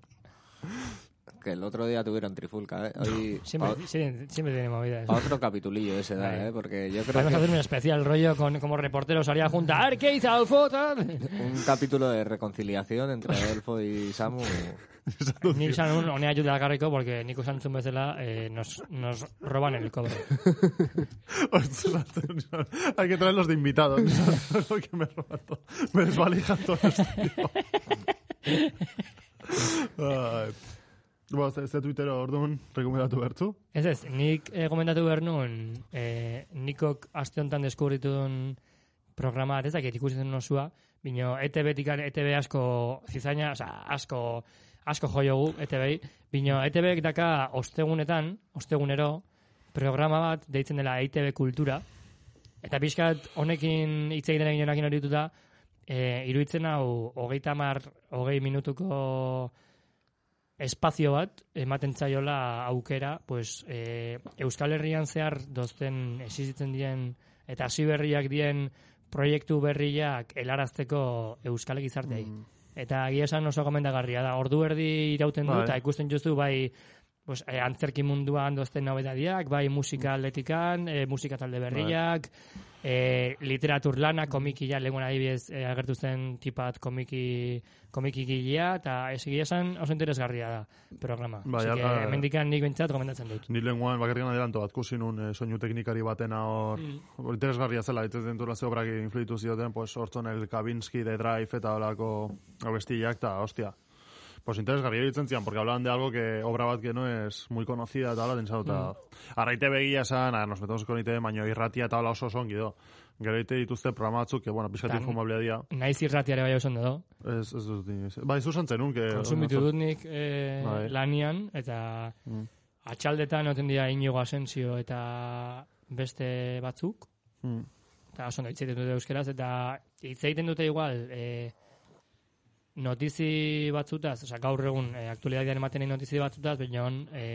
[SPEAKER 3] Que el otro día tuvieron trifulca, ¿eh? Hoy,
[SPEAKER 2] Siempre,
[SPEAKER 3] pa,
[SPEAKER 2] siempre, siempre tiene movida eso.
[SPEAKER 3] pa otro capitulillo ese da, ¿eh? Porque yo creo
[SPEAKER 2] Podemos hacer
[SPEAKER 3] que
[SPEAKER 2] un especial rollo con, como reporteros haría junta. A ver, ¿qué hizo Adolfo? Tal.
[SPEAKER 3] un capítulo de reconciliación entre Adolfo y Samu...
[SPEAKER 2] Nik esan honea ayuda dakarriko, porque Niko Santzun bezala eh, nos, nos roban el cobre.
[SPEAKER 1] *laughs* Ostras, tío, Hay que traerlos de invitados. *laughs* Es lo que me roba todo. Me desvalijan todo esto, tío. *laughs* Ay. Bueno, este, este Twitter, Ordun, recomienda tu bertu.
[SPEAKER 2] Ez ez, nik eh, gomendatu behar nuen, eh, nikok aste honetan deskubritun programa bat, ez dakit ikusi zen osua, bino ETB tikan, ETB asko zizaina, oza, asko, asko E joiogu ETB-i, bino ETB E daka ostegunetan, ostegunero, programa bat deitzen dela ETB kultura, eta pixkat honekin hitz egiten egin honekin hori dituta, eh, iruditzen hau, hogeita mar, hogei minutuko espazio bat ematen zaiola aukera, pues, e, Euskal Herrian zehar dozten existitzen dien eta hasi berriak dien proiektu berriak helarazteko Euskal gizarteei. Eta egia esan oso gomendagarria da. Ordu erdi irauten du
[SPEAKER 1] Bai.
[SPEAKER 2] eta ikusten justu bai pues, e, antzerki munduan dozten nobedadiak, bai musika atletikan, e, musika talde berriak, e, literatur lana, komikila, lehuen adibidez e, agertu zen tipat komiki, komiki gilea, eta ez egia esan oso interesgarria da programa.
[SPEAKER 1] Bai,
[SPEAKER 2] Así que,
[SPEAKER 1] ala-
[SPEAKER 2] hemendikan nik bentsat gomendatzen dut.
[SPEAKER 1] Ni lenguan bakarrikan adelanto bat, kusin un eh, soinu teknikari batena hor, hor interesgarria zela, eta zentura ze obrak influitu zioten, pues, hortzon el Kavinsky, The Drive, eta holako abestiak, eta, hostia. Pues interesgarria ditzen zian, porque hablaban de algo que obra bat que no es muy conocida, eta hola, tentzau, eta... Arraite begia esan, ah, nos metemos con ite, baino irratia eta hola oso zongi do. Gero ite dituzte programa batzuk, que, bueno, pixkat
[SPEAKER 2] Tan-
[SPEAKER 1] infumablea dia.
[SPEAKER 2] Naiz irratiare bai oso ondo do.
[SPEAKER 1] Ez, ez dut, ni- bai, zuzen zenun, que...
[SPEAKER 2] Konsumitu dut nik e,
[SPEAKER 1] Bai. Mm.
[SPEAKER 2] lanian, eta atxaldetan oten dira inigo asensio eta beste batzuk.
[SPEAKER 1] Mm.
[SPEAKER 2] eta oso ondo hitz egiten dute euskeraz, eta hitz egiten dute igual, e, notizi batzutaz, oza, gaur egun e, aktualidadean ematen den notizi batzutaz, baina e,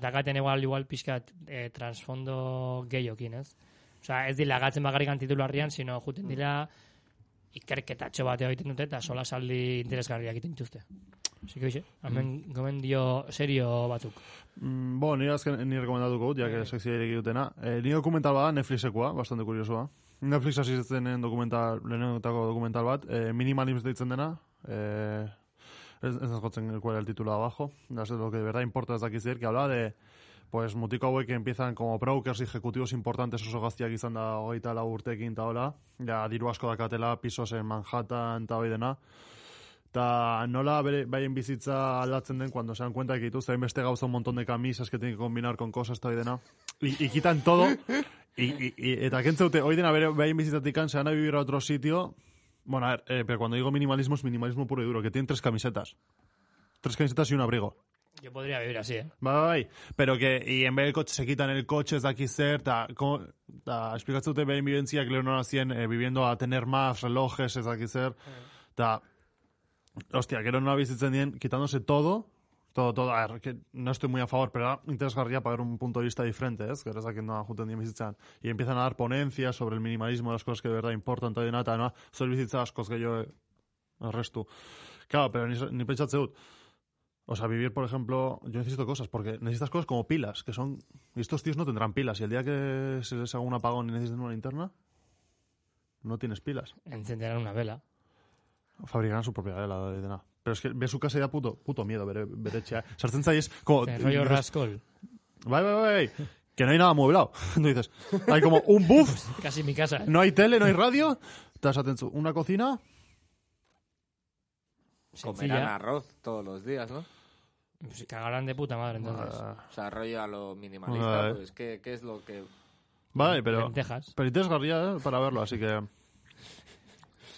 [SPEAKER 2] dakaten igual, igual pixkat e, transfondo gehiokin, ez? Oza, ez dila gatzen bakarrikan titularrian, sino juten dira ikerketatxo bat egiten dute, eta sola saldi interesgarriak egiten dituzte. Así que, oixe, hemen gomendio serio batzuk.
[SPEAKER 1] Mm, bo, nire azken ni rekomendatuko dut, jak eh, sekzia ireki dutena. Eh, ni dokumental bada Netflixekoa, bastante kuriosoa. Netflix hasi zitzenen dokumental, lehenetako dokumental bat, eh, Minimalism deitzen dena, eh, ez, ez azkotzen cuál era el título de abajo, no sé lo que de verdad importa desde aquí decir, que hablaba de pues mutiko hauek que empiezan como brokers y ejecutivos importantes oso gaztiak izan da hogeita lau urtekin eta hola, ja diru asko dakatela, pisos en Manhattan eta hoi dena, Eta nola bere, baien bizitza aldatzen den cuando se dan cuenta que tú también beste gauza un montón de camisas que tienen que combinar con cosas eta hoi dena. Y, y quitan todo. y, y, y, eta kentzeute, hoi dena bere, baien bizitzatik se van a vivir a otro sitio. Bueno, a ver, eh, pero cuando digo minimalismo es minimalismo puro y duro, que tienen tres camisetas. Tres camisetas y un abrigo.
[SPEAKER 2] Yo podría vivir así, eh?
[SPEAKER 1] Bai, bai, bai. Pero que, y en vez del coche, se quitan el coche, ez daki zer, ta, como, ta, esplikatzeute behin bibentziak lehenor hacían eh, viviendo a tener más relojes, ez daki zer, ta, hostia, gero nola bizitzen dien, quitándose todo, todo, todo, a ver, que no estoy muy a favor, pero da interesgarría para ver un punto de vista diferente, ez, gero ezakit nola juten dien bizitzan, y empiezan a dar ponencias sobre el minimalismo, las cosas que de verdad importan, eta dena, eta, no, zor bizitza askoz gehiago eh, arrestu. Claro, pero ni, ni pentsatze dut, o sea, vivir, por ejemplo, yo necesito cosas, porque necesitas cosas como pilas, que son... Y estos tíos no tendrán pilas, y el día que se les haga un apagón y necesiten una linterna, no tienes pilas.
[SPEAKER 2] Encenderán una vela.
[SPEAKER 1] Fabricarán su propia vela de nada. Pero es que ve su casa y da puto, puto miedo ver, ver etxea. Sartzen zai es como...
[SPEAKER 2] Eh, rollo rascol. *laughs*
[SPEAKER 1] Bai, bai, bai, bai. Que no hay nada amueblado. *laughs* Tú dices, hay como un buff,
[SPEAKER 2] Casi mi casa. eh.
[SPEAKER 1] no hay tele, no hay radio. Estás atento. Una cocina,
[SPEAKER 3] Comerán
[SPEAKER 2] Sencilla.
[SPEAKER 3] arroz todos los días, ¿no?
[SPEAKER 2] Pues cagarán de puta madre entonces.
[SPEAKER 1] ah,
[SPEAKER 3] O sea, rollo a lo minimalista.
[SPEAKER 1] Vale.
[SPEAKER 3] Pues, ¿qué, ¿Qué es lo que
[SPEAKER 1] Bai, pero...
[SPEAKER 2] Lentejas.
[SPEAKER 1] Pero interesgarria eh, para verlo, así que...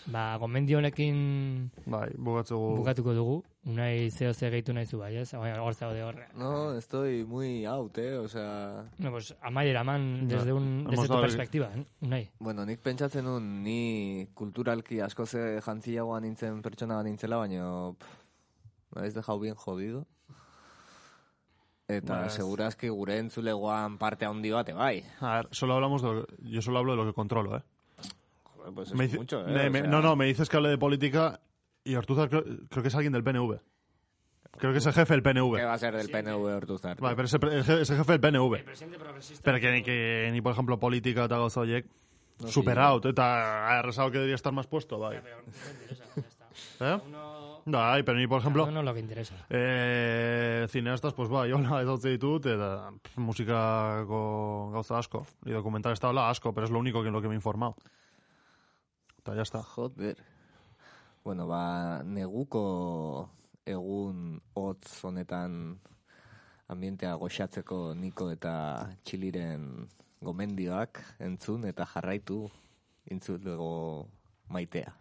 [SPEAKER 2] Ba, gomendio honekin
[SPEAKER 1] Bai, bukatzugu...
[SPEAKER 2] bukatuko dugu. Unai zeo ze gehitu nahi zu bai, ez? Hor- Hor zaude hor.
[SPEAKER 3] No, estoy muy out, eh? Osea...
[SPEAKER 2] No, pues, amaiera eman
[SPEAKER 1] Ja,
[SPEAKER 2] desde, un, desde
[SPEAKER 1] hemos
[SPEAKER 2] tu
[SPEAKER 1] dado el-
[SPEAKER 2] perspektiba, eh? Unai.
[SPEAKER 3] Bueno, nik pentsatzen nun, ni kulturalki asko ze jantziagoa nintzen pertsona bat nintzela, baina me habéis dejado bien jodido. Eta
[SPEAKER 1] Ba, ez.
[SPEAKER 3] segurazki gure entzulegoan parte handi bate, bai.
[SPEAKER 1] A ver, solo hablamos de... lo que- Yo solo hablo de lo que controlo, ¿eh?
[SPEAKER 3] Joder, pues es
[SPEAKER 1] Me dice-
[SPEAKER 3] mucho, eh?
[SPEAKER 1] me-
[SPEAKER 3] o
[SPEAKER 1] me-
[SPEAKER 3] sea,
[SPEAKER 1] No, no, me dices que hable de política y Ortuzar creo, creo que es alguien del PNV. Creo que es el jefe del PNV.
[SPEAKER 3] ¿Qué va a ser del PNV Hortuzar?
[SPEAKER 1] Vale, pero es el, pre- el je- es el jefe del PNV.
[SPEAKER 2] Presidente progresista.
[SPEAKER 1] Pero que, ni- que ni, por ejemplo, política te ha gozado Jack. Superado, te ha arrasado que debería estar más puesto, vale. ¿Eh? Bai, pero ni por ejemplo,
[SPEAKER 2] No, no lo que interesa.
[SPEAKER 1] eh, cineastas, pues bai, hola, ez dut ditut, eta pff, musikako gauza asko. Y documental está hola asko, pero es lo único que en lo que me he informado. Eta ya está.
[SPEAKER 3] Joder. Bueno, ba, neguko egun hotz honetan ambientea goxatzeko Niko eta Txiliren gomendioak entzun eta jarraitu intzulego maitea.